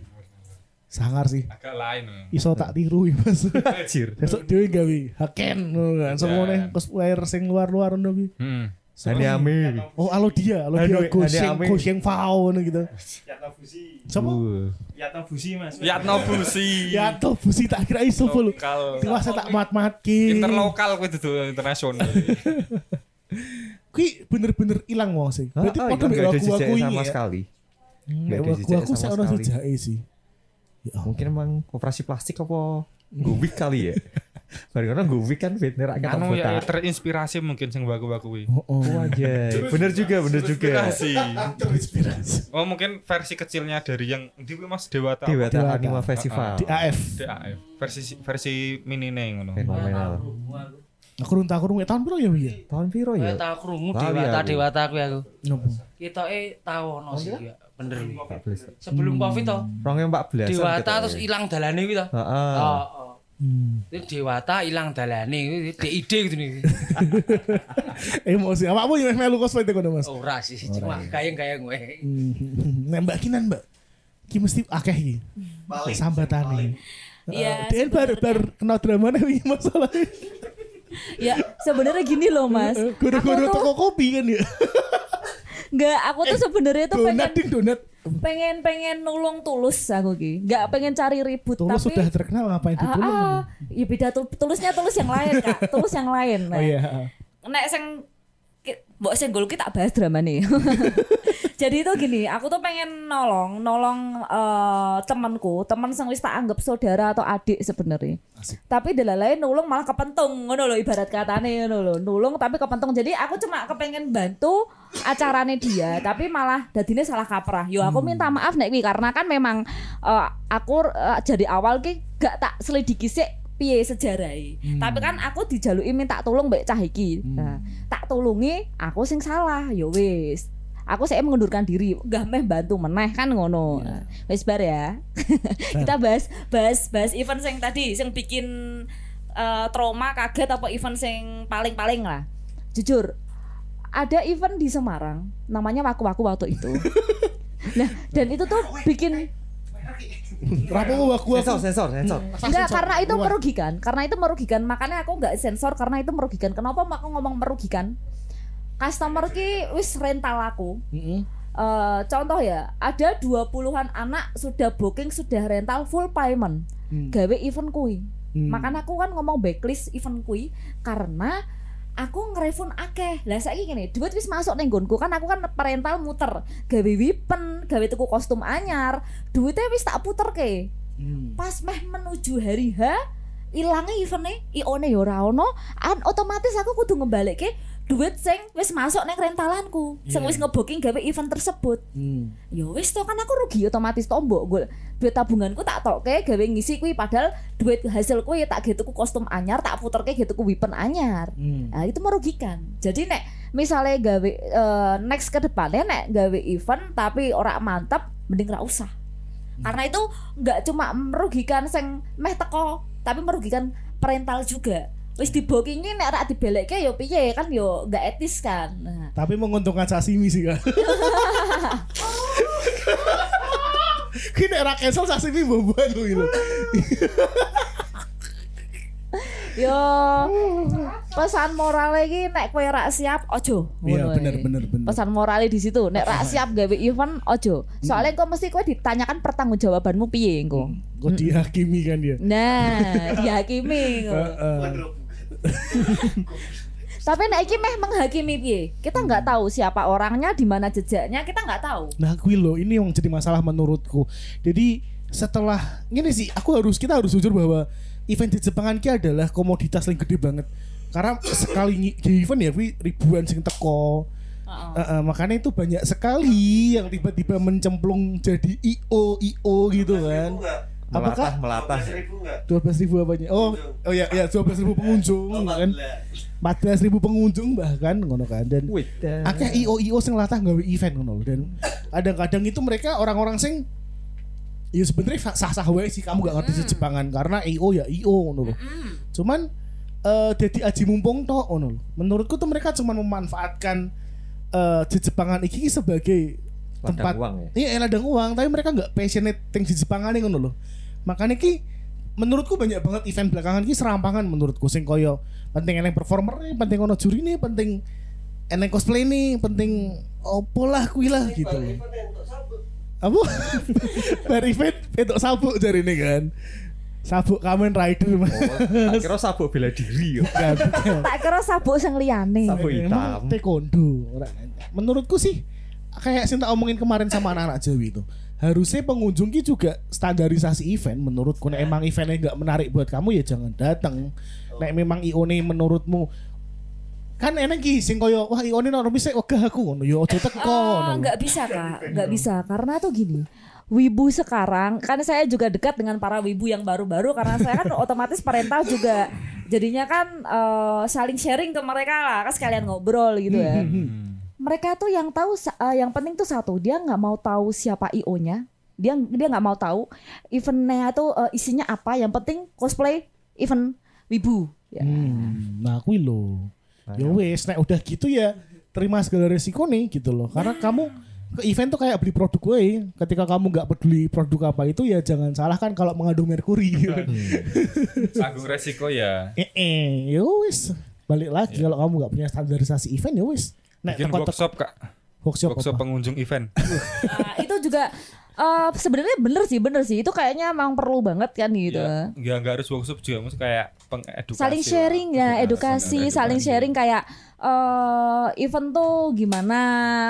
C: Sangar sih.
B: Agak lain.
C: Iso tak tiru ya, Mas.
A: Anjir.
C: Besok dhewe gawe haken ngono kan. Semua nih cosplayer sing luar-luar ngono kuwi.
B: Hmm.
A: Hani Ami.
C: Oh, Alodia, Alodia
A: Aduh,
C: Goseng,
A: Ame.
C: Goseng Fao ngono gitu.
F: Yatno Fusi.
C: Sopo?
A: Uh,
F: Yatno Fusi Mas.
B: Yatno Busi.
C: Ya toh busi tak kira iso polo.
B: Lokal.
C: Tiwas tak mat-matki.
B: Interlokal kowe dudu internasional.
C: Kuwi bener-bener ilang wong sing.
A: ah,
C: Berarti
A: ah,
C: padha
A: iya,
C: mek
A: nggak ada
C: aku aku
A: jejak
C: iki
A: sama
C: ya.
A: sekali.
C: Hmm,
A: Nggak
C: Mek
A: ada
C: aku
A: jejak
C: aku
A: sama
C: sak ono
A: sekali.
C: jejake sih. Ya ampun.
A: Mungkin emang operasi plastik apa gubik kali ya. Bareng orang gubik kan fitner rakyat kan
B: Anu ya, ya,
A: botak.
B: terinspirasi mungkin sing baku-baku kuwi.
C: Oh, oh.
A: Oh anjay. Bener juga, bener juga.
G: ya.
B: Terinspirasi.
C: Terinspirasi.
B: Oh mungkin versi kecilnya dari yang di kuwi Mas Dewata. apa?
A: Dewata
C: Dewata.
A: Anima Festival.
C: Di AF.
B: DAF. ah, eh, Versi versi mini nih ngono.
A: Fenomenal.
C: Aku runta aku runta tahun piro ya iya.
A: Tahun piro
E: Kowe
A: ya?
E: Eh, tak krungu
A: Lali
E: dewata
A: aku.
E: dewata kuwi aku.
C: Nopo?
E: Ketoke tau ono sih ya, bener.
A: Belas-
E: Sebelum Covid to.
A: 2014.
E: Dewata terus ilang dalane kuwi to.
A: gitu ya. Heeh.
E: Oh, oh. Itu Dewata ilang dalane kuwi DID gitu nih.
C: Emosi. Eh, Awakmu yo melu cosplay tekan Mas.
E: Ora sih, cuma gayeng-gayeng kowe.
C: Hmm. Nek Mbak Kinan Mbak. Ki mesti akeh iki. Sambatane.
D: Iya,
C: Dia Eh, bar bar kena drama nih masalah. Eh,
D: ya sebenarnya gini loh mas
C: Guru-guru
D: aku tuh
C: toko kopi kan ya.
D: nggak aku tuh sebenarnya tuh
C: Donat
D: pengen
C: ding donat.
D: pengen pengen nulung tulus aku ki nggak pengen cari ribut
C: Tulus
D: tapi
C: sudah terkenal ngapain
D: Ah,
C: ditulung?
D: ah, ya beda tul- tulusnya tulus yang lain kak tulus yang lain
C: Oh iya.
D: nek sing ki- mbok senggol ki tak bahas drama nih. Jadi itu gini, aku tuh pengen nolong, nolong eh, temanku, teman sing wis tak anggap saudara atau adik sebenarnya. Tapi delalain nulung malah kepentung ngono lho ibarat katane ngono lho. Nulung tapi kepentung. Jadi aku cuma kepengen bantu acarane dia, tapi malah dadine salah kaprah. Yo aku minta maaf nek kuwi karena kan memang eh, aku eh, jadi awal ki gak tak selidiki sik piye sejarai. Tapi kan aku dijaluki minta tolong mbek cah iki. Nah, tak tulungi aku sing salah ya wis. Aku saya mengundurkan diri, gak meh bantu meneh kan ngono. Nah, Wis bar ya. Kita bahas bahas bahas event sing tadi sing bikin eh, trauma kaget apa event sing paling-paling lah. Jujur ada event di Semarang namanya waku-waku waktu itu. nah, dan itu tuh bikin
C: Rapo aku aku.
A: Sensor, sensor, sensor.
D: Enggak, karena itu
C: Keluar.
D: merugikan. Karena itu merugikan. Makanya aku nggak sensor karena itu merugikan. Kenapa aku ngomong merugikan? Customer ki wis rental aku.
C: Mm-mm.
D: Eh, contoh ya, ada 20-an anak sudah booking, sudah rental full payment.
C: Hmm.
D: Gawe event kui.
C: Hmm.
D: Makanya aku kan ngomong backlist event kui karena aku ngerefund akeh. Lah saiki gini, duit wis masuk ning nggonku kan aku kan parental muter, gawe wipen, gawe tuku kostum anyar, duitnya wis tak puter ke
C: Hmm.
D: pas meh menuju hari H ilangnya eventnya ione ya ora ono an otomatis aku kudu ngembalikke duit sing wis masuk neng rentalanku sing
C: Iya.
D: wis ngebooking gawe event tersebut
C: Hmm.
D: ya wis toh kan aku rugi otomatis tombok gue duit tabunganku tak tokke gawe ngisi kui padahal duit hasil kui tak gitu ku kostum anyar tak puterke gitu ku wipen anyar
C: Hmm.
D: Nah, itu merugikan. Jadi nek misalnya gawe eh, next ke depannya nek gawe event tapi ora mantap mending ora usah.
C: Hmm.
D: Karena itu nggak cuma merugikan sing meh teko tapi merugikan parental juga. Wis dibookingi nek ora dibelekke yo piye kan yo nggak etis kan. Nah,
C: Tapi menguntungkan sashimi sih kan. Kini era cancel sashimi boboan lu gitu.
D: Hmm. yo pesan moral lagi nek kowe ora siap ojo.
C: Iya
D: Ngono ae.
C: benar benar benar.
D: pesan moralnya di situ nek rak
C: Iya.
D: siap gawe event ojo soalnya
C: Hmm.
D: kok mesti kowe ditanyakan pertanggungjawabanmu piye engko
C: Kok dihakimi kan dia.
D: Nah,
C: Eh,
D: dihakimi. kok.
C: eh.
D: Tapi nek iki meh menghakimi piye? Kita nggak tahu siapa orangnya, di mana jejaknya, kita nggak tahu.
C: Nah gue loh ini yang jadi masalah menurutku. Jadi setelah ini sih aku harus kita harus jujur bahwa event di Jepang ki adalah komoditas yang gede banget. Karena sekali ngi- di event ya gue ribuan sing teko. Eh, eh, makanya itu banyak sekali yang tiba-tiba mencemplung jadi IO IO gitu kan.
A: Melatah,
C: Apakah
A: melatah.
C: 12.000 ribu apanya? Oh, oh ya ya 12.000 pengunjung
I: Oh,
C: kan. 14.000 pengunjung bahkan ngono kan dan
A: Wih,
C: akeh IO IO sing latah gawe event ngono lho. dan kadang-kadang itu mereka orang-orang sing ya sebenarnya fa- sah-sah wae sih kamu gak ngerti si Jepangan karena IO ya IO ngono loh. Cuman eh jadi aji mumpung toh ngono loh. Menurutku tuh mereka cuman memanfaatkan eh Jepangan iki sebagai
A: Ladang
C: tempat
A: uang ya?
C: Iya, eh, ladang uang, tapi mereka nggak passionate tentang Jepangan ngono loh. Makanya ki menurutku banyak banget event belakangan ki serampangan menurutku sing koyo penting eneng performer nih, penting ono juri nih, penting eneng cosplay nih, penting opo lah kuwi lah gitu. loh apa bar event itu sabuk jari ini kan sabuk kamen rider mas Kan.
A: Oh, tak kira sabuk bela diri ya? yo.
C: Bukan, bukan.
D: Tak kira sabuk sing liyane.
A: Sabuk hitam.
C: Emang taekwondo Ora. menurutku sih kayak sing tak omongin kemarin sama anak-anak Jawi itu harusnya pengunjung ki juga standarisasi event menurutku nek emang eventnya nggak menarik buat kamu ya jangan datang nek memang ione menurutmu kan enak ki sing koyo wah ione nek rumis wegah aku ngono ya aja teko
D: Oh,
C: ngono.
D: nggak bisa kak, nggak bisa karena tuh gini. Wibu sekarang, karena saya juga dekat dengan para wibu yang baru-baru karena saya kan otomatis perintah juga, jadinya kan eh, saling sharing ke mereka lah, kan sekalian ngobrol gitu ya. Mereka tuh yang tahu, sa- eh, yang penting tuh satu dia nggak mau tahu siapa io-nya, dia dia nggak mau tahu eventnya tuh eh, isinya apa, yang penting cosplay event wibu. Ya.
C: Hmm, nah kuwi lho. Ya wis nek udah gitu ya terima segala resiko nih gitu loh. Karena kamu ke event tuh kayak beli produk gue ketika kamu nggak peduli produk apa itu ya jangan salah kan kalau mengandung merkuri
B: Aku resiko ya.
C: eh eh ya wis balik lagi kalau kamu nggak punya standarisasi event ya wis nek
B: Bikin workshop kak.
C: workshop,
B: Workshop
C: apa?
B: pengunjung event.
D: Nah, itu juga eh, sebenarnya bener sih, bener sih. Itu kayaknya emang perlu banget kan gitu.
B: Ya, nggak nggak harus workshop juga, maksud kayak pengedukasi.
D: saling sharing ya, edukasi, saling sharing kayak eh event tuh gimana,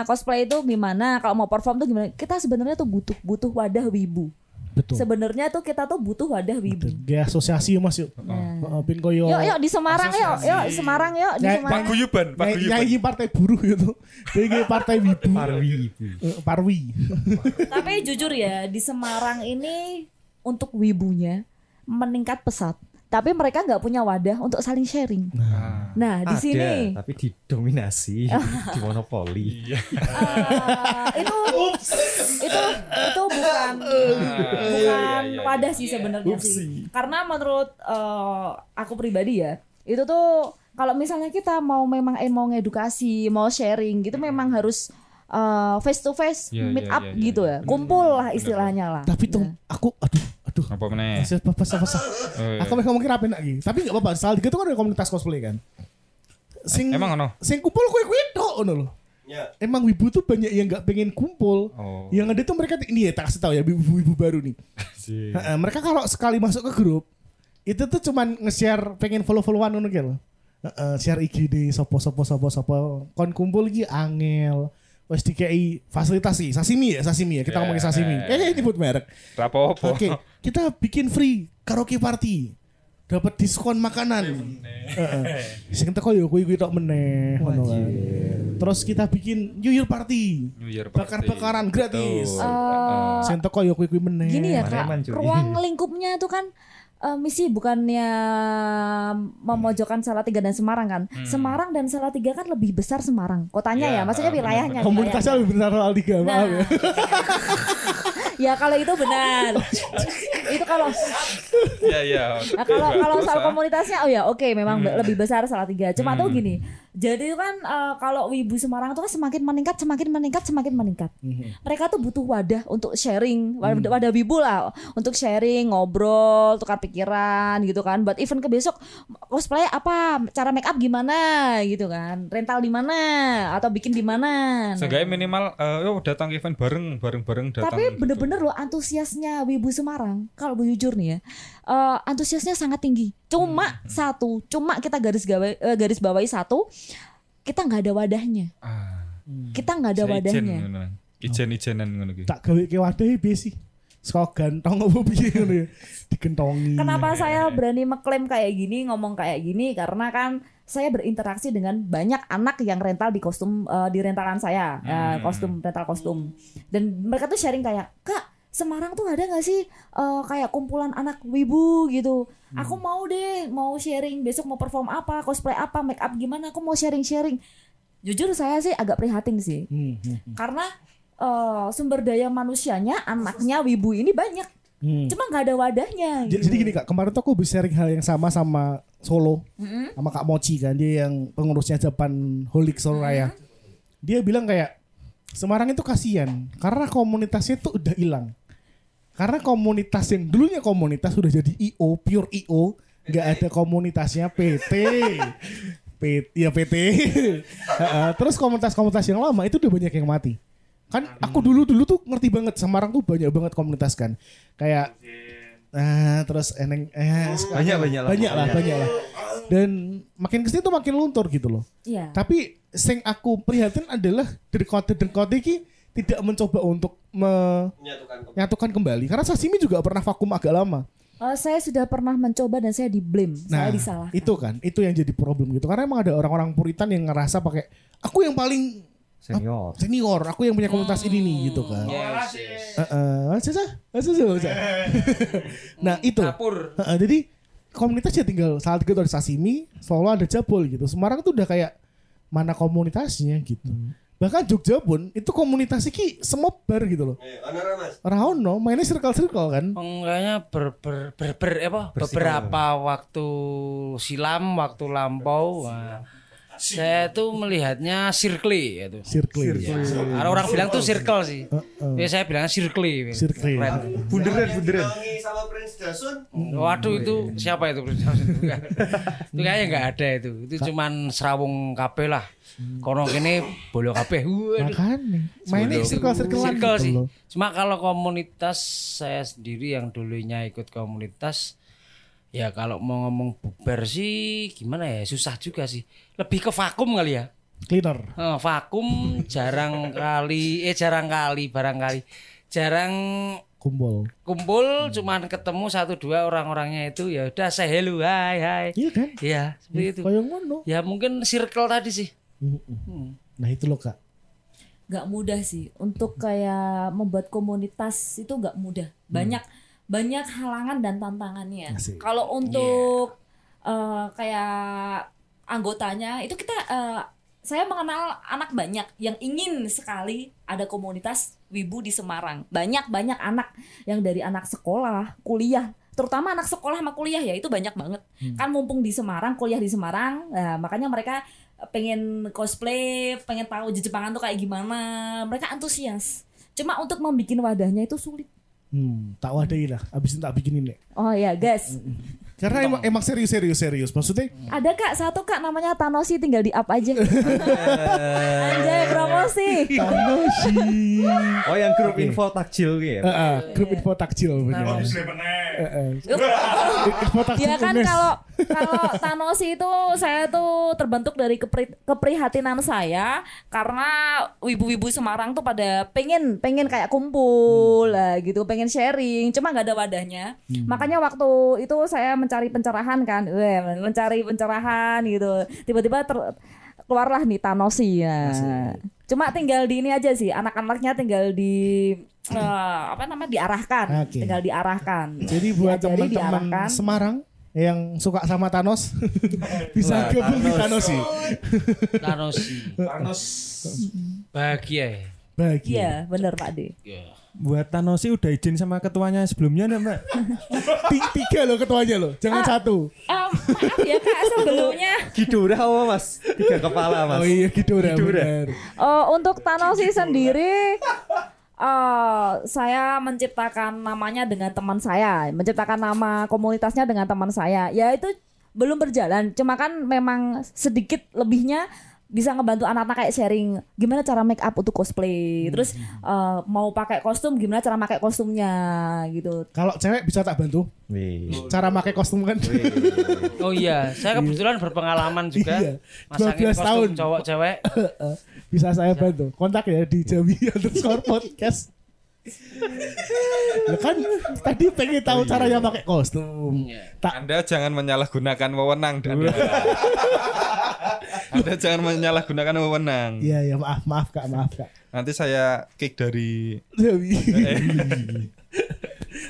D: cosplay itu gimana, kalau mau perform tuh gimana. Kita sebenarnya tuh butuh butuh wadah wibu.
C: betul
D: Sebenarnya tuh kita tuh butuh wadah wibu.
C: ya asosiasi yuk, mas yuk
D: Nah.
C: Heeh, pin koyo
D: Yuk, yuk di Semarang yuk, yuk Semarang yuk di
C: Nyai-
D: Semarang.
B: Paguyuban,
C: Nyai-
B: paguyuban.
C: nyai partai buruh ya, itu Nyai partai wibu
A: Parwi ibu.
C: Eh, parwi
D: Nah. Tapi jujur ya, di Semarang ini untuk wibunya meningkat pesat. Tapi mereka nggak punya wadah untuk saling sharing. Nah, di
A: Ada,
D: sini
A: tapi didominasi, dimonopoli.
D: Ah, itu itu itu bukan bukan wadah sih sebenarnya sih karena menurut eh, aku pribadi ya itu tuh kalau misalnya kita mau memang eh, mau ngedukasi mau sharing gitu memang harus eh, face to face
B: Iya,
D: meet
B: iya,
D: up
B: iya, iya.
D: gitu ya kumpul lah istilahnya lah
C: tapi tuh
D: Nah.
C: aku aduh aduh
B: Apa meneh?
C: Masih apa apa apa
B: Oh, iya.
C: Aku pengen ngomongin apa enak gitu. Tapi enggak apa-apa. Soal dikit itu kan ada komunitas cosplay kan. Sing
B: Emang ono?
C: sing kumpul kue-kue tok ngono loh.
I: Ya.
C: Emang wibu tuh banyak yang nggak pengen kumpul.
B: Oh.
C: Yang ada tuh mereka ini ya tak kasih tahu ya wibu-wibu baru nih. Heeh, mereka kalau sekali masuk ke grup itu tuh cuman nge-share pengen follow-followan ngono gitu. Heeh, share IG di sopo-sopo sopo-sopo kon kumpul iki angel. Wes dikei fasilitas sih, sashimi ya, sashimi ya. Kita
B: Ya,
C: ngomongin sashimi.
B: ya, ya.
C: Eh, nyebut merek.
B: Rapopo.
C: Oke, kita bikin free karaoke party. Dapat diskon makanan. Heeh. Sing teko yo kuwi-kuwi tok meneh ngono kan. Terus kita bikin New Year party.
B: New Year party.
C: Bakar-bakaran gratis.
B: Betul.
D: Eh,
C: Sing teko yo kuwi-kuwi meneh.
D: gini ya kak
A: Preman, cuy.
D: ruang lingkupnya itu kan eh, misi bukannya memojokkan Salatiga dan Semarang kan Semarang dan Salatiga kan lebih besar Semarang kotanya
B: Iya,
D: ya maksudnya
B: ah,
D: wilayahnya
C: Komunitasnya lebih benar soal tiga, maaf ya.
D: Nah. ya kalau itu benar itu kalau
B: Iya, iya.
D: nah, kalau kalau
B: Terus,
D: soal
B: ah. Hmm.
D: komunitasnya oh ya oke memang be- lebih besar Salatiga cuma tuh gini jadi kan eh, kalau wibu Semarang tuh kan semakin meningkat semakin meningkat semakin meningkat
B: Hmm.
D: mereka tuh butuh wadah untuk sharing wad- wadah wibu lah untuk sharing ngobrol tukar pikiran gitu kan buat event ke besok cosplay apa cara make up gimana gitu kan rental di mana atau bikin di mana Nah,
B: Seenggaknya minimal eh, yo datang event bareng, bareng-bareng datang.
D: Tapi
B: gitu.
D: bener-bener loh antusiasnya Wibu Semarang, kalau bu jujur nih ya, eh, antusiasnya sangat tinggi.
B: Hmm,
D: Cuma satu, cuma kita garis gawe- eh, garis bawahi satu, kita nggak ada wadahnya.
B: Ah,
D: Kita nggak ada
B: saya izin,
D: wadahnya.
B: ngono. Ijen-ijenan ngono gitu. iki.
C: Tak gawe ke wadahe piye sih? Saka gantong apa piye ngono ya. Digentongi.
D: Kenapa saya berani mengklaim kayak gini, ngomong kayak gini? Karena kan saya berinteraksi dengan banyak anak yang rental di kostum eh, di rentalan saya, eh, kostum rental kostum. Dan mereka tuh sharing kayak, "Kak, Semarang tuh ada nggak sih eh, kayak kumpulan anak wibu gitu? Aku mau deh, mau sharing besok mau perform apa, cosplay apa, make
C: Hmm,
D: up gimana? Aku mau sharing-sharing." Jujur saya sih agak prihatin sih. Karena eh, sumber daya manusianya anaknya wibu ini banyak
C: hmm.
D: cuma nggak ada wadahnya
C: Jadi, jadi gini kak, kemarin tuh aku bisa sharing hal yang sama sama Solo,
D: Mm-mm.
C: sama Kak Mochi kan, dia yang pengurusnya Japan Holik Solo Raya. Dia bilang kayak Semarang itu kasihan karena komunitasnya tuh udah hilang. Karena komunitas yang dulunya komunitas sudah jadi IO, pure IO, nggak ada komunitasnya PT. PT ya PT. Heeh, Terus komunitas-komunitas yang lama itu udah banyak yang mati. Kan aku dulu-dulu tuh ngerti banget Semarang tuh banyak banget komunitas kan. Kayak Nah, terus eneng eh,
A: Banyak, banyak lah.
C: Banyak lah, banyak lah. Dan makin kesini tuh makin luntur gitu loh.
D: Iya.
C: Tapi sing aku prihatin adalah derkote-derkote iki tidak mencoba untuk menyatukan kembali. Karena sashimi juga pernah vakum agak lama.
D: Eh, saya sudah pernah mencoba dan saya di blame saya disalahkan
C: itu kan, itu yang jadi problem gitu. Karena emang ada orang-orang puritan yang ngerasa pakai aku yang paling
A: senior
C: senior, aku yang punya komunitas ini nih gitu kan.
E: Yes, yes.
C: Heeh, susah, susah, susah. Nah, itu.
E: Dapur.
C: Heeh, jadi komunitas ya tinggal salah tiga itu ada sashimi, Solo ada jabol gitu. Semarang tuh udah kayak mana komunitasnya gitu. Bahkan Jogja pun itu komunitasnya ki semobar gitu loh. Rahono mainnya circle-circle kan.
E: Wong Kayaknya ber, ber, ber, ber- apa, beberapa waktu silam, waktu lampau. wah, Saya tuh melihatnya circle ya tuh.
C: Circle.
E: Ada orang bilang tuh circle sih. Ya saya bilangnya circle.
C: Circle.
E: Keren.
A: bunderan bunderan
I: sama Prince Dasun.
C: Hmm.
E: Waduh itu siapa itu? Bukan. itu kayaknya nggak ada itu. Itu cuman serawung kabeh lah. Kono kene bolo kabeh. Waduh.
C: Makanya mainnya circle-circlean
E: Circle
C: gitu
E: sih.
C: loh.
E: Cuma kalau komunitas saya sendiri yang dulunya ikut komunitas ya kalau mau ngomong bubar sih gimana ya susah juga sih. Lebih ke vakum kali ya.
C: Cleaner.
E: Eh, vakum jarang kali eh jarang kali barangkali jarang
C: Kumpul.
E: kumpul cuman ketemu satu dua orang-orangnya itu ya udah saya hello hai hai
C: Iya kan?
E: ya seperti itu
C: Kayak ngono.
E: ya mungkin circle tadi sih Hmm.
C: Nah itu loh kak.
D: nggak mudah sih untuk kayak membuat komunitas itu nggak mudah banyak banyak halangan dan
C: Hmm.
D: tantangannya
C: Asik. Iya.
D: kalau untuk eh, kayak anggotanya itu kita eh, saya mengenal anak banyak yang ingin sekali ada komunitas wibu di Semarang banyak banyak anak yang dari anak sekolah kuliah terutama anak sekolah sama kuliah ya itu banyak banget kan mumpung di Semarang kuliah di Semarang nah, makanya mereka pengen cosplay, pengen tahu Jepangan tuh kayak gimana. Mereka antusias. Cuma untuk membuat wadahnya itu sulit.
C: Hmm, tak wadahi lah. Abis itu tak bikinin deh.
D: Oh ya guys,
C: Karena emang, emang serius serius serius. Maksudnya
E: Hmm.
D: ada kak satu kak namanya Tanosi tinggal di up aja. Anjay promosi.
C: Tanoshi.
A: oh yang grup info takjil gitu ya
C: Heeh,
E: Iya,
C: grup info takjil
E: Nah,
C: benar. Heeh. Info takjil.
D: Ya kan
C: Unes.
D: kalau kalau Tanosi itu saya tuh terbentuk dari kepri- keprihatinan saya karena wibu-wibu Semarang tuh pada pengen pengen kayak kumpul lah gitu, pengen sharing, cuma nggak ada wadahnya. Makanya waktu itu saya mencari pencerahan kan, Weh, mencari pencerahan gitu. Tiba-tiba ter- keluarlah nih Tanosi ya. Cuma tinggal di ini aja sih, anak-anaknya tinggal di eh, apa namanya diarahkan,
C: Oke.
D: tinggal diarahkan.
C: Jadi buat
D: Diajari,
C: teman-teman
D: Iya, diarahkan.
C: Semarang yang suka sama Thanos bisa gabung di Thanos sih.
E: Tanosi bahagia ya
C: Bagi.
D: Iya, bener Pak De.
G: Buat Tanosi udah izin sama ketuanya sebelumnya enggak, Mbak?
C: Ti- Tiga loh ketuanya loh, jangan satu.
D: Em, maaf ya Kak, sebelumnya
A: Kidura apa mas tiga kepala mas
C: Oh iya gitu udah
A: Gitu, Ra.
C: benar.
D: Eh, untuk
C: Gitu
D: Tanosi sendiri eh saya menciptakan namanya dengan teman saya, menciptakan nama komunitasnya dengan teman saya. Ya itu belum berjalan, cuma kan memang sedikit lebihnya bisa ngebantu anak-anak kayak sharing gimana cara make up untuk cosplay,
C: Hmm.
D: terus eh, mau pakai kostum gimana cara pakai kostumnya gitu.
C: Kalau cewek bisa tak bantu
A: Wih.
C: cara pakai kostum kan.
E: oh iya saya kebetulan berpengalaman
C: Iya.
E: juga
C: 12
E: masangin kostum
C: tahun.
E: cowok cewek
C: bisa saya bantu. Kontak ya di Jambi underscore podcast. Lah kan tadi pengen tahu caranya pakai kostum.
B: Anda jangan menyalahgunakan wewenang dulu. Anda jangan menyalahgunakan wewenang.
C: Iya ya maaf maaf kak maaf kak.
B: Nanti saya kick dari
C: Dewi.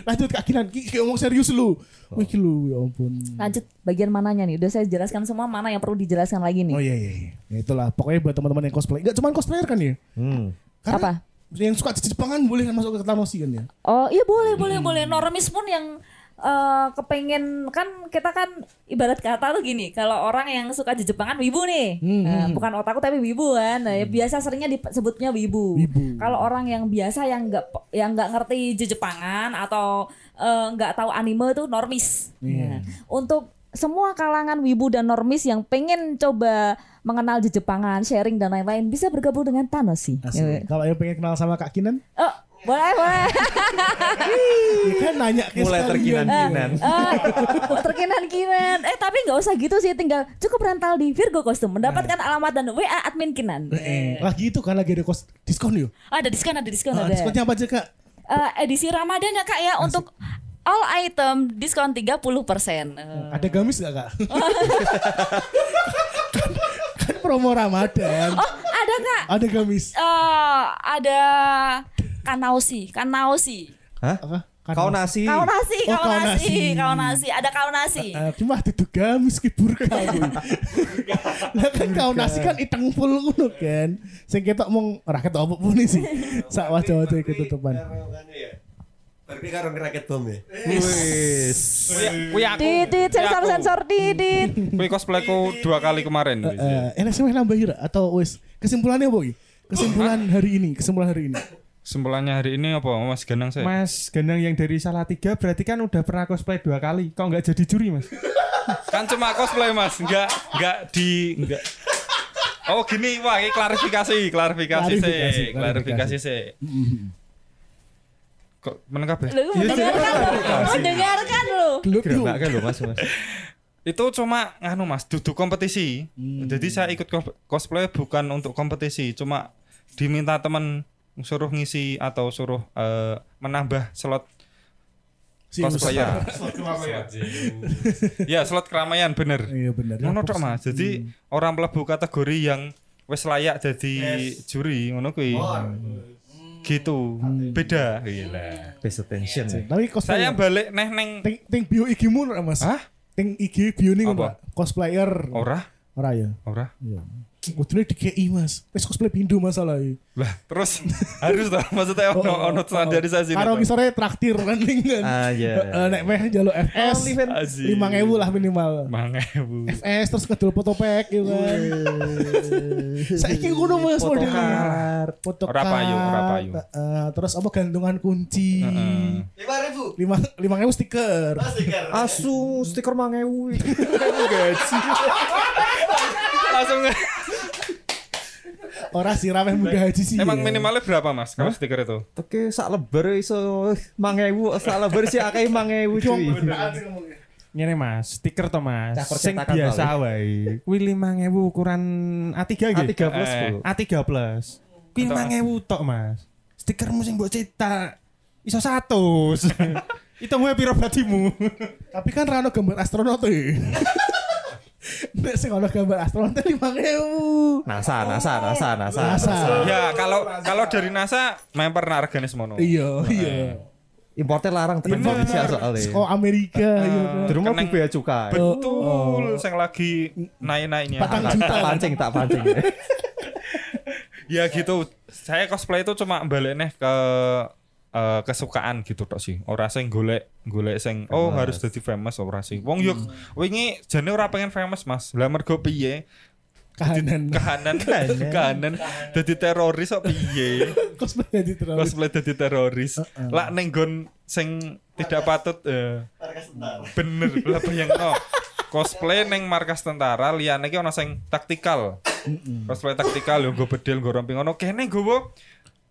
C: Lanjut Kak Kinan, Ki, ki- ngomong serius lu. Wih ki lu ya ampun.
D: Lanjut bagian mananya nih? Udah saya jelaskan semua mana yang perlu dijelaskan lagi nih.
C: Oh iya iya. iya. Ya itulah pokoknya buat teman-teman yang cosplay. Enggak cuma cosplayer kan ya?
A: Hmm.
C: Karena
D: Apa?
C: yang suka Jepangan boleh kan masuk ke Tanosi kan ya?
D: Oh iya boleh boleh boleh normis pun yang eh, kepengen kan kita kan ibarat kata tuh gini kalau orang yang suka jejepangan wibu nih Nah, bukan otakku tapi wibu kan Nah, ya biasa seringnya disebutnya wibu, kalau orang yang biasa yang nggak pe- yang nggak ngerti jejepangan atau eh, nggak tahu anime tuh normis Nah, untuk semua kalangan wibu dan normis yang pengen coba mengenal jejepangan sharing dan lain-lain bisa bergabung dengan Tanosi
C: Asli. Kalau yang pengen kenal sama Kak Kinan,
D: oh boleh boleh
C: ya kan nanya ke
A: Mulai
C: sekalian.
A: terkinan-kinan.
D: Eh, terkinan-kinan. Eh tapi nggak usah gitu sih, tinggal cukup rental di Virgo Kostum mendapatkan alamat dan WA admin Kinan.
C: Nah. Eh, Lagi itu kan lagi ada kos diskon yuk.
D: Ada diskon, ada diskon,
C: Ah,
D: ada.
C: diskonnya apa aja Kak?
D: Eh, edisi Ramadan ya Kak ya untuk all item diskon 30%. Eh,
C: Ada gamis gak Kak?
D: Oh.
C: Kan- kan promo Ramadan.
D: Oh, ada Kak.
C: Ada gamis.
D: Eh, ada Kanausi, Kanausi.
A: Hah?
C: Apa?
A: Kau nasi.
D: Kau nasi,
C: Oh,
D: kau
C: kau
D: nasi,
C: nasi.
D: kau nasi. Ada kau nasi.
C: Eh, cuma itu gamis ki burka kuwi. Lah kan kau nasi kan iteng full ngono kan. Sing ketok mung ora ketok apa pun sih. Sak wajah-wajah
I: Iya,
C: ketutupan.
I: ya. Berarti karo ngeraket bom ya.
B: Wih aku.
D: Didit, sensor-sensor didit.
B: Wih cosplayku dua kali kemarin. Iya. wih.
C: Eh, enak sih nambah Hira atau wis kesimpulannya apa iki? Kesimpulan hari ini, kesimpulan hari ini.
B: Simpulannya hari ini apa Mas Ganang saya?
G: Mas Ganang yang dari salah tiga berarti kan udah pernah cosplay dua kali. Kau nggak jadi juri mas?
B: Kan cuma cosplay Mas, enggak enggak di enggak. Oh gini, wah ini klarifikasi, klarifikasi
C: Klarifikasi,
B: sih, klarifikasi sih. Kok menengah
D: Lu
C: Iya,
D: mendengarkan lu, mendengarkan lu.
C: Geluk yuk.
A: Gerak kan lo mas mas.
B: itu cuma nganu mas duduk kompetisi
C: Hmm.
B: jadi saya ikut ko- cosplay bukan untuk kompetisi cuma diminta teman suruh ngisi atau suruh eh, menambah slot
C: Si
B: cosplayer ya slot keramaian bener
C: Iya benar.
B: ngono tok, mas jadi orang melebu kategori yang wes layak jadi juri ngono kuwi gitu
C: Hmm.
B: beda gila
A: Best attention.
C: Tapi cosplayer.
B: saya balik neh neng
C: Ting ting bio IG mu ora, Mas.
B: Hah?
C: Ting IG bio ning
B: Apa?
C: Pak. Cosplayer.
B: ora
C: Ora ya.
B: ora
C: Iya. Kudune dikei, Mas. Wis cosplay pindo masalah iki.
B: lah terus harus toh maksudnya ono ono standarisasi
C: Karo
B: toh.
C: ngisore traktir kan ning kan.
A: Ah, iya.
C: Heeh, nek meh njaluk FS
B: Aziz.
C: 5000 lah minimal.
B: Mangewu.
C: FS terus kedul foto pack gitu kan. Saiki ngono Mas modelnya.
A: Fotokar.
C: Foto
B: Ora payu, ora payu.
C: Heeh, terus apa gantungan kunci.
I: Lima ribu.
C: Lima lima ewu stiker.
A: Asu stiker mangewi.
B: Langsung eh,
C: Ora siram eh muda haji sih.
B: Emang
C: ya.
B: minimalnya berapa mas kalau stiker itu?
A: Oke, sak lebar iso mangewu, sak lebar sih akeh mangewu cuy.
G: Ngene mas, stiker to mas.
A: Cah
G: Sing
A: percetakan
G: biasa wae. Kuwi 5000 ukuran A3 nggih.
A: A3 plus,
B: Eh.
A: Bu.
G: A3 plus. Kuwi 5000 tok mas. Stikermu sing mbok cetak iso 100. Hitung wae piro batimu.
C: Tapi kan rano gambar astronot tuh. Nek sing ono gambar astronot lima ewu.
A: NASA, NASA, NASA, NASA.
C: Masa?
B: Ya kalau kalau dari NASA member narganis mono.
C: Iya, iya.
A: Importer larang tekan Indonesia soalnya.
C: Sko Oh, Amerika iya
A: Di
C: kan.
A: rumah
B: Keneng-
A: gue bea cukai.
B: Betul, yang lagi naik-naiknya.
C: Patang
A: Tak
C: juta.
A: tak pancing, tak pancing.
B: Ya gitu. Saya cosplay itu cuma balik nih ke eh, kesukaan gitu tok sih. Ora sing golek golek sing oh harus jadi famous Hmm. ora sih. Wong yuk wingi jane ora pengen famous Mas. Lah mergo piye?
C: Kahanan.
B: Kahanan kahanan dadi teroris apa piye?
C: Cosplay jadi terlalu.
B: cosplay jadi teroris lah neng nggon sing tidak patut eh, bener lah bayang cosplay neng markas tentara liane ki ono sing taktikal cosplay taktikal yo gue bedil gue romping ono kene gue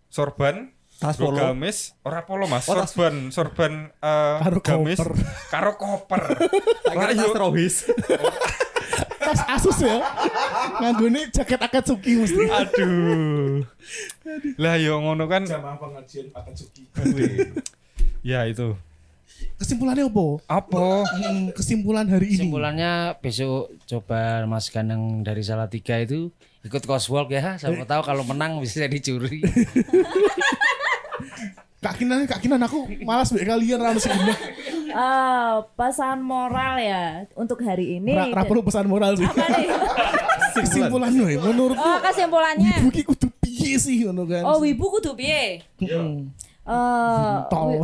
B: sorban
A: Tas polo.
B: nggo gamis ora polo mas
A: Oh, tas-
B: sorban sorban eh,
C: Karo
B: gamis
C: koper.
B: karo koper lah
A: Akhirnya
B: yo
A: tas rohis.
C: Tas Asus ya. Nganggone jaket Akatsuki mesti.
B: aduh lah yo ngono kan
H: pengajian Akatsuki.
B: ya itu
C: Kesimpulannya apa?
B: apa
C: Hmm, Kesimpulan hari ini.
E: Kesimpulannya besok coba Mas Ganang dari Salatiga itu ikut coswalk ya. Siapa tahu kalau menang bisa jadi juri.
C: Kak Kinan, Kak Kinan aku malas mbek kalian rano sing bener.
D: Eh, pesan moral ya untuk hari ini.
C: Ra ra perlu pesan moral sih.
D: iya. Apa nih?
C: Kesimpulan woy, menurutku
D: Oh, kesimpulannya.
C: wibu ki kudu piye piye sih ngono kan.
D: Oh, wibu kudu piye?
C: Mm.
D: Eh,
C: Tol.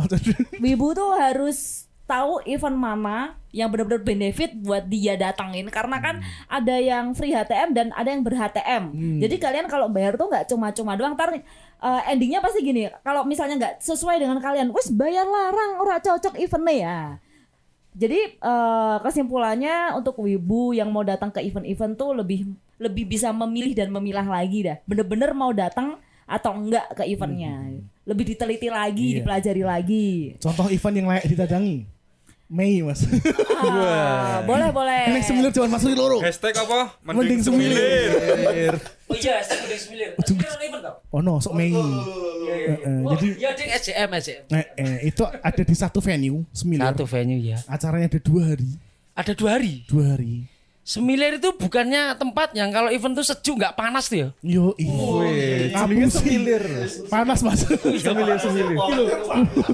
D: Wibu tuh harus tahu event mana yang benar-benar benefit buat dia datangin karena kan ada yang free HTM dan ada yang ber HTM. Jadi kalian kalau bayar tuh nggak cuma-cuma doang. Ntar eh, endingnya pasti gini. Kalau misalnya nggak sesuai dengan kalian, wes bayar larang, ora cocok eventnya ya. Jadi eh, kesimpulannya untuk wibu yang mau datang ke event-event tuh lebih lebih bisa memilih dan memilah lagi dah. Bener-bener mau datang atau enggak ke eventnya. Lebih diteliti
C: Iya.
D: lagi, dipelajari lagi.
C: Contoh event yang layak ditadangi. Mei mas.
D: Ah, boleh boleh.
C: Enek semilir cuma masukin loro.
B: Hashtag apa?
C: Mending semilir.
E: Oh iya, saya udah semilir. Semilir kan event tau?
C: Oh no, sok
D: Iya,
C: Mei. Eh,
E: Oh,
C: Jadi
E: iya ding SJM, SJM.
C: eh, eh, itu ada di satu venue semilir.
E: Satu venue ya.
C: Acaranya ada dua hari.
E: Ada dua hari.
C: Dua hari.
E: Semilir itu bukannya tempat yang kalau event tuh sejuk nggak panas tuh ya.
C: Yo iya. Kamu semilir. Panas mas. Semilir semilir.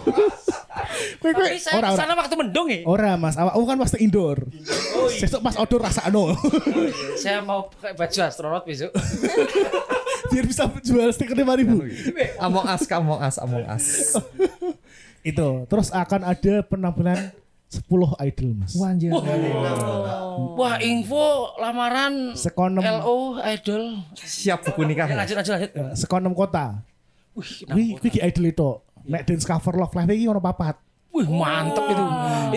C: Kue kue.
E: Tapi saya
C: Ora ora.
E: kesana waktu mendung ya.
C: Ora mas, awak oh, kan pasti indoor.
E: Oh, iya.
C: Sesuk pas outdoor rasa no.
E: Saya mau pakai baju astronot besok.
C: Biar bisa jual stiker lima ribu.
A: Among Us, Kak, Among Us, Among Us.
C: Itu. Terus akan ada penampilan 10 idol mas.
E: Iya.
A: Wanjir.
E: Wah info lamaran
C: Sekonem.
E: LO idol.
A: Siap buku nikah.
E: Ya, lanjut lanjut lanjut.
C: Sekonom kota.
E: Wih, kenapa?
C: Wih, kuwi ki idol itu. Nek dance cover love live iki ono papat.
E: Wih mantep itu.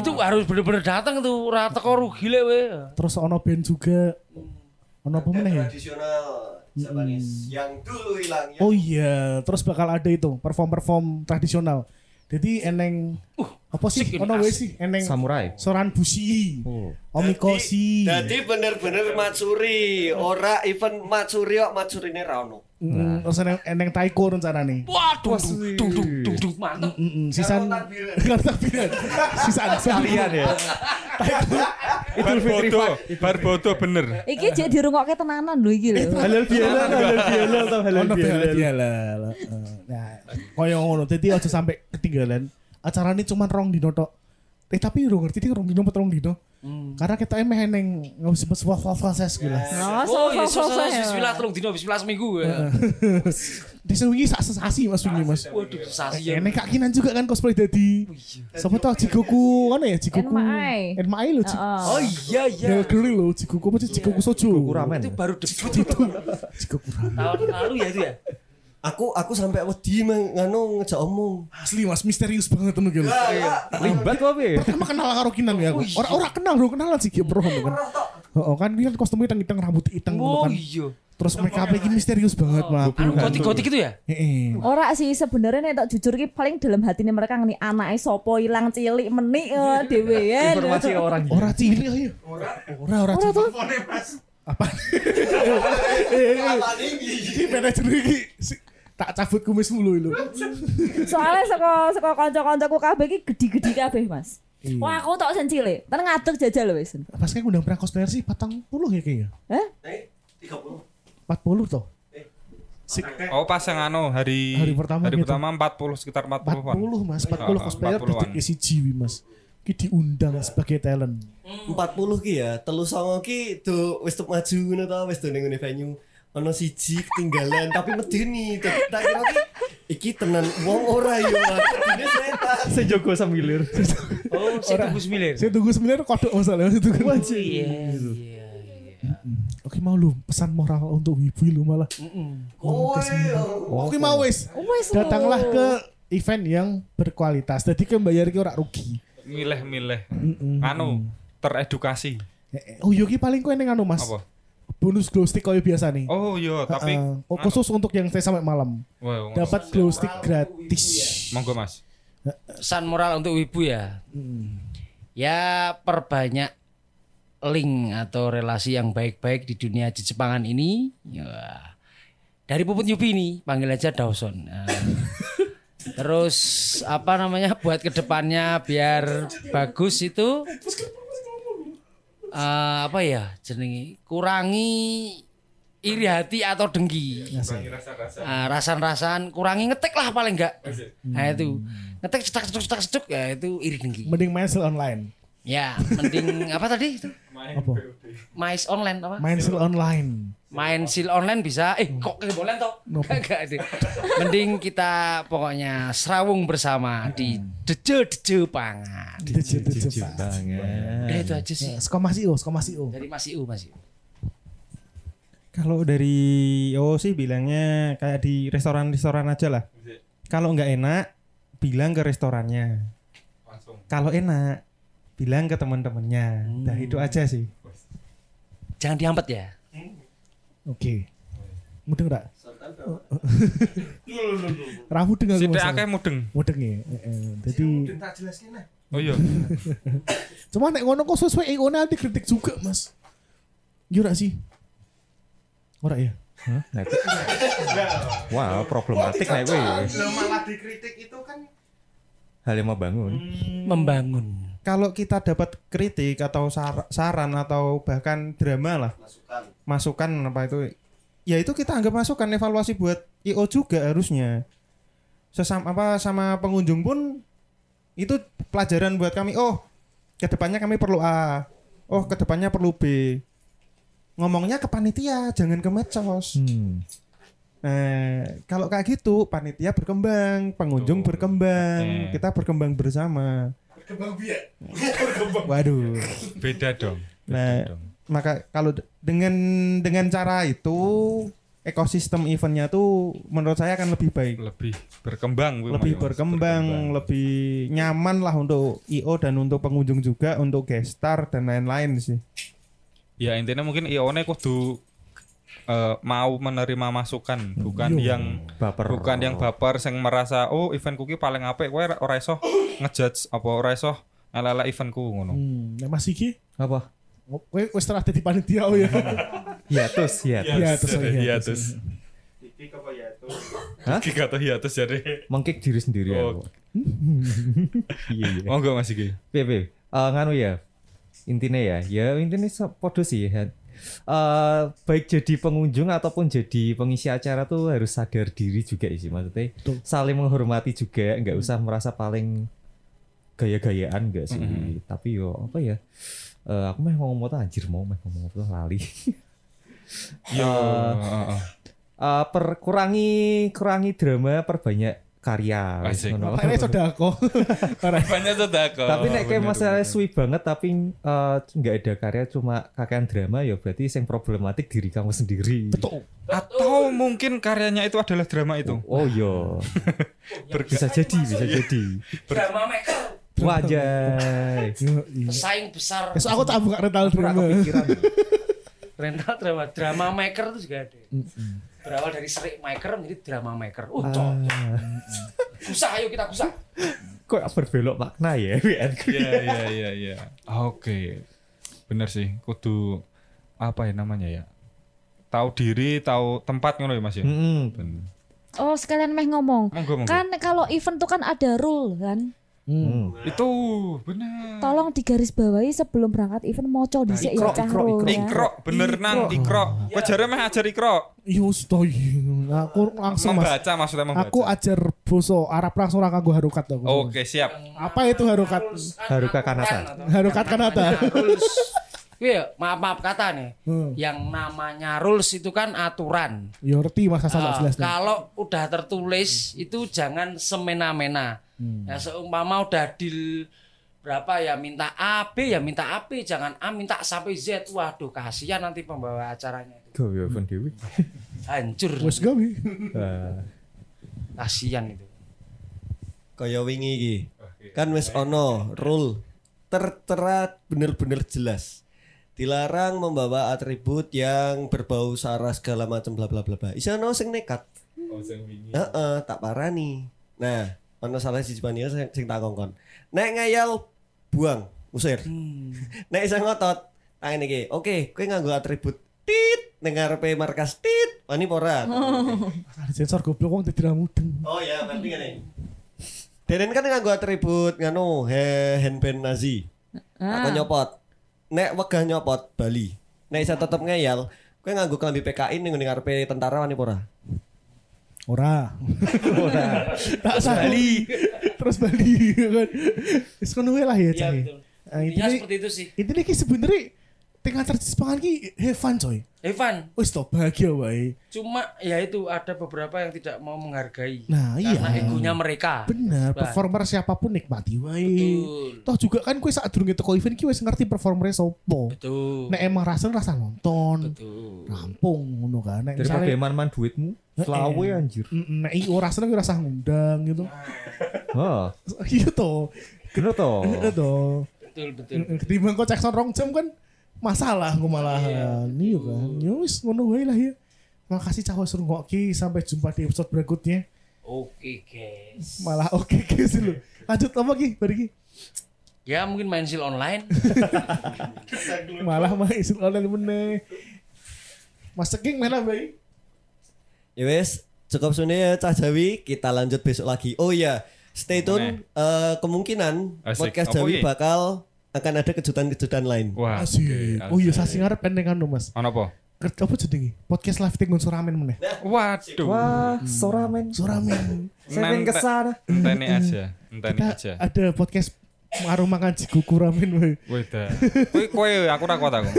E: Itu harus bener-bener datang tuh. Rata kok rugi le we.
C: Terus ono band juga. Ono apa meneh ya?
I: tradisional Japanese yang dulu hilang ya. yang
C: Oh iya, terus bakal ada itu perform-perform tradisional. Jadi eneng apa sih?
E: ini
C: Ono wae
E: asik.
C: sih eneng
A: Samurai.
C: Soran Bushi.
A: Oh.
C: Omikoshi.
I: Jadi bener-bener Matsuri, ora event Matsuri kok Matsurine ra ono.
A: Nah.
C: Mm, terus eneng, eneng taiko rencanane.
E: Waduh, dung dung dung dung dung mantep.
C: Mm, sisan Karo takbiran. Sisan
A: Kalian ya.
B: Bar bodoh, bar bodoh bener.
D: Iki jadi dirungokke tenanan lho iki lho.
A: Halal bihalal, halal bihalal, tau halal
C: Ono
A: bihalal.
C: bialal. Nah, koyo ngono. Jadi aja sampai ketinggalan. Acarane cuman rong dino tok. Eh tapi urung ngerti iki rong dino apa rong dino. Karena kita emeh neng ngabis bes wah wah proses gila.
D: Oh,
E: Oh
D: so,
E: iya,
D: so, so, so, ya.
E: bismillah telung dino, bismillah seminggu. ya.
C: Di sewingi sak sesasi Mas wingi Mas.
E: Waduh, sensasi ya.
C: Enek Iya, Kak Kinan iya, juga kan cosplay dadi. Sopo tau Jigoku ngono ya Jigoku.
D: NMAI.
C: NMAI lho. Ji-
D: Heeh.
E: Oh iya iya.
C: Del Girl lho Jigoku apa sih? Jigoku Sojo.
A: Buku ramen.
E: Itu baru debut itu.
C: Jigoku ramen.
E: Tahun lalu ya itu ya.
I: Aku aku sampai wedi mang- nganu ngejak omong.
C: Asli Mas misterius banget temen gila.
E: iya.
A: Limbat apa ya?
C: pertama kenal karo Kinan ya aku. Orang orang kenal bro kenalan sih bro kan. Oh kan dia kan kostumnya hitam hitam rambut hitam gitu
E: Oh
C: kan.
E: iya.
C: Terus mereka apa ini misterius banget mah.
E: Anu gotik-gotik itu ya?
C: Heeh.
D: Ora sih sebenarnya nek tak jujur ki paling dalam hatine mereka ngene anake sapa ilang cilik menik eh,
E: Iya.
D: dhewean.
A: Informasi orang.
C: Orang cilik ayo. Orang orang
D: Ora tuh.
C: apa? Eh, eh, eh. Ini manajer ini si- tak cabut kumis mulu lu.
D: Soalnya saka saka kanca-kancaku kabeh iki gede-gede kabeh, Mas. Wah, aku tok sen cilik. Ten ngadeg jajal lho wis.
C: Pas kayak undang pernah cosplayer sih patang puluh ya kayaknya.
D: Hah?
I: Eh, 30.
C: Empat puluh toh. Si,
B: Oh pas yang anu hari
C: Hari pertama
B: hari
C: gitu.
B: pertama 40 sekitar
C: 40
B: 40-an.
C: mas, 40
B: Iya.
C: cosplayer terus
B: 40-an.
C: si Jiwi mas. Ki diundang sebagai talent.
I: 40 ki ya, telu songo ki do wis tuh maju ngono ta wis do ning ngene venue. Ono siji ketinggalan tapi medeni. Tak tak kira ki iki tenan wong ora yo. Ini setan.
A: Sejogo semilir.
E: Oh, saya tunggu
B: Iya.
E: sembilan.
C: Saya tunggu sebenarnya kodok masalah saya tunggu.
E: Iya.
C: Gitu. Oke mau lu pesan moral untuk wibu lu malah.
I: Kowe.
C: Oke mau wis.
D: Wis lho.
C: Datanglah ke event yang berkualitas. Jadi kan bayar ki ora rugi.
B: Milih-milih. Anu teredukasi.
C: Eh, eh, Oh yogi paling kue neng anu mas.
B: Apa?
C: Bonus glow stick kalau biasa nih.
B: Oh iya, tapi
C: Heeh. Oh,
B: anu.
C: khusus untuk yang saya sampai malam.
B: Wah, wah.
C: Dapat glow stick gratis.
B: monggo Mas.
E: Pesan moral untuk wibu ya. Ya perbanyak link atau relasi yang baik-baik di dunia jejepangan ini. Ya. Dari puput Yupi ini panggil aja Dawson. Nah. Terus apa namanya buat kedepannya biar bagus itu eh, apa ya jenenge kurangi iri hati atau dengki. Ah, rasan-rasan kurangi ngetik lah paling enggak nah itu ngetik cetak cetuk cetak cetuk ya itu iri dengki
C: Mending main sale online.
E: ya mending apa tadi itu
C: Apa?
E: mais online apa
C: Main sale online.
E: main seal online bisa eh kok game online toh Kagak deh. mending kita pokoknya serawung bersama di deje deje pangan
C: Cepat.
E: ya itu aja sih
C: Skomas IO, Skomas IO.
G: Hmm.
E: dari Mas Iu Mas Iu
G: Kalau dari oh sih bilangnya kayak di restoran-restoran aja lah. Kalau nggak enak, bilang ke restorannya.
B: Langsung.
G: Kalau enak, bilang ke teman-temannya. Nah itu aja sih.
E: jangan diampet ya
C: Oke. Mudeng enggak? Ra mudeng aku.
B: Sithik
C: Mas.
B: akeh mudeng.
C: Mudeng ya. eh, eh. Jadi
H: tak jelaskan lah.
B: Oh iya.
C: cuma nek ngono kok sesuai IO nanti kritik juga, Mas. Iya ora sih? Ora ya?
A: Nah, itu- Wah, problematik nih gue.
H: Lah malah dikritik itu kan
A: Hal yang membangun.
E: membangun
G: Kalau kita dapat kritik atau sar- saran atau bahkan drama lah, masukan apa itu? Ya itu kita anggap masukan evaluasi buat IO juga harusnya. Sesama apa sama pengunjung pun itu pelajaran buat kami. Oh, kedepannya kami perlu A. Oh, kedepannya perlu B. Ngomongnya ke panitia, jangan ke medsos.
A: Hmm.
G: Nah, kalau kayak gitu panitia berkembang, pengunjung
B: Betul.
G: berkembang,
B: Oke.
G: kita berkembang bersama. Berkembang biak. Waduh.
B: Beda dong.
G: Nah,
B: dong.
G: maka kalau d- dengan dengan cara itu ekosistem eventnya tuh menurut saya akan lebih baik,
B: Lebih berkembang kuwi,
G: lebih
B: Mas.
G: berkembang, lebih nyaman lah untuk IO dan untuk pengunjung juga, untuk guest star dan lain-lain sih.
B: Ya intinya mungkin ION kudu eh, mau menerima masukan, bukan
A: Iya.
B: yang
A: Baper.
B: bukan yang baper sing merasa oh event kuki paling apik kowe ora iso ngejudge apa ora iso ala-ala eventku ngono.
C: Hmm, nek Mas iki
A: Apa?
C: oh, kowe wis telah dadi panitia oh ya.
A: Hiatus, hiatus.
C: Iya, terus, iya,
B: hiatus.
H: dikritik apa ya tuh.
A: Hah?
B: Ya, Iki kata hiatus jadi.
A: Mengkick diri sendiri ya.
B: Oh.
A: Pak. Iya, iya.
B: Oh enggak Mas iki.
A: Piye, piye? Eh, nganu ya. Intinya ya, ya intinya se- podo sih. ya. Eh, baik jadi pengunjung ataupun jadi pengisi acara tuh harus sadar diri juga sih maksudnya.
C: Betul.
A: Saling menghormati juga, nggak usah merasa paling gaya-gayaan enggak sih.
B: Mm-hmm.
A: Tapi yo apa ya? Eh, aku mah ngomong apa tuh, anjir mau mah ngomong apa tuh, lali.
B: Yo.
A: Eh, eh, per kurangi kurangi drama perbanyak karya wes
B: Asik.
A: ngono.
C: Makanya sodako. Ora.
B: Banyak sudah kok.
A: tapi nek kayak masalah suwi banget tapi eh, nggak ada karya cuma kakean drama ya berarti yang problematik diri kamu sendiri
C: Betul.
B: atau mungkin karyanya itu adalah drama itu.
A: oh yo bisa jadi bisa jadi
E: drama maker
A: wajah Iya.
E: pesaing besar
C: Besok aku tak buka rental drama.
E: rental drama drama maker itu juga ada berawal dari serik maker menjadi drama maker oh
A: Ah.
E: cocok kusah ayo kita kusah
A: kok berbelok makna ya WN?
B: Iya iya iya iya. Oke. Bener sih, kudu apa ya namanya ya? Tahu diri, tahu tempat ngono ya Mas ya.
A: Mm-mm.
B: Bener.
J: Oh sekalian meh ngomong.
B: Monggo monggo.
J: Kan kalau event tuh kan ada rule kan.
A: Mm.
B: Itu bener.
J: Tolong digarisbawahi sebelum berangkat event moco dhisik ya
A: ikro,
J: cah
A: ikro,
J: rule ya.
B: Ikro bener nang ikro. Wajarnya mah ajar ikro.
C: Yo stoi. iya. Nah, Aku langsung Mas.
B: Membaca maksudnya membaca.
C: Aku ajar boso Arab langsung ora kanggo harokat aku.
B: Oke, siap.
C: Apa itu harokat?
A: Haruka Kanata.
C: Harukat Kanata.
E: rules Iya, maaf maaf kata nih
C: Hmm.
E: yang namanya rules itu kan aturan
C: Yo ngerti Mas Hasan tak
E: Ah,
C: jelas.
E: kalau udah tertulis itu jangan semena-mena. Ya seumpama udah deal berapa ya minta A, B ya minta A, B jangan A minta sampai Z. Waduh kasihan nanti pembawa acaranya itu.
A: Gawe apa dewe?
E: Hancur.
C: Wes gawe.
A: Ah,
E: Kasihan itu.
I: Kaya wingi iki. Kan wis ono rule tertera bener-bener jelas. Dilarang membawa atribut yang berbau sara segala macam bla bla bla bla. Isih ono sing nekat. Heeh, tak parani. Nah, ono salah siji panitia sing, sing tak kongkon. Nek ngayal buang, usir. Nek isih ngotot, tangen iki. Oke, kowe nganggo atribut tit ning ngarepe markas tit. Wani apa ora?
C: Ada sensor goblok wong tidak mudeng.
I: Oh ya, ngerti kan ini. Deren kan nganggo atribut nganu he- handband Nazi.
B: Ah.
I: Aku nyopot. Nek wegah nyopot Bali. Nek isa tetep ngeyel, kowe nganggo klambi PKI ning ngene ngarepe tentara wani apa ora?
C: Ora. Tak Bali. Terus Bali kan. Wis ngono wae lah ya
E: Iya
C: cah.
E: betul.
C: Nah,
E: Intinya
C: intinya
E: seperti itu sih.
C: intinya ki sebenarnya tingkat antar jenis pangan ki have fun coy.
E: Evan,
C: Wis to bahagia wae.
E: cuma ya itu ada beberapa yang tidak mau menghargai
C: Nah, iya.
E: karena egonya mereka.
C: Bener,
E: Bah.
C: performer siapapun nikmati wae.
E: Betul.
C: Toh juga kan kue saat durung teko event ki wis ngerti performernya sopo.
E: Betul.
C: Nek emang rasa rasa nonton,
E: Betul.
C: rampung ngono kan. Nek
A: daripada
C: misalnya
A: eman-eman duitmu selawe anjir
C: Mm, nek iyo rasa ora rasa ngundang gitu.
A: wah
C: Iya toh.
A: bener toh
C: Heeh toh.
E: Betul, betul.
C: Mm, Ketimbang kok cekson rong jam kan masalah kok malahan. Iya kan. Ya wis ngono wae lah ya. Makasih cawes rungoki sampai jumpa di episode berikutnya.
E: Oke, guys.
C: Malah oke guys sih lu. Lanjut apa ki? Bari ki.
E: Ya mungkin main sil online.
C: Malah mah isin online meneh. Mas Ceking mana bayi?
I: Ya wes, cukup sini ya Cah Jawi. Kita lanjut besok lagi. Oh iya, stay tune. Eh, kemungkinan
B: Asik.
I: podcast
B: Apa
I: Jawi
B: iya?
I: bakal akan ada kejutan-kejutan lain.
B: Wah.
C: Asik.
B: Ah, oke,
C: Oh iya
B: asik.
C: sasi ngarep ending anu Mas.
B: Ono apa?
C: Ker- Apa jenenge? Podcast live dengan suramen meneh.
B: Waduh.
A: wah sora men
C: Suramen.
A: saya pengen kesana
B: Enteni aja, enteni
C: Kita
B: aja.
C: ada podcast warung makan jiguku ramen wae.
B: Weda. Kowe kowe aku ra kuat aku.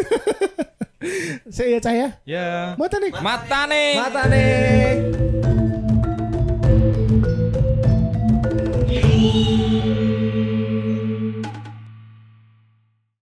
C: Saya ya cah ya.
B: Ya.
C: Mata nih.
B: Matane.
A: mata nih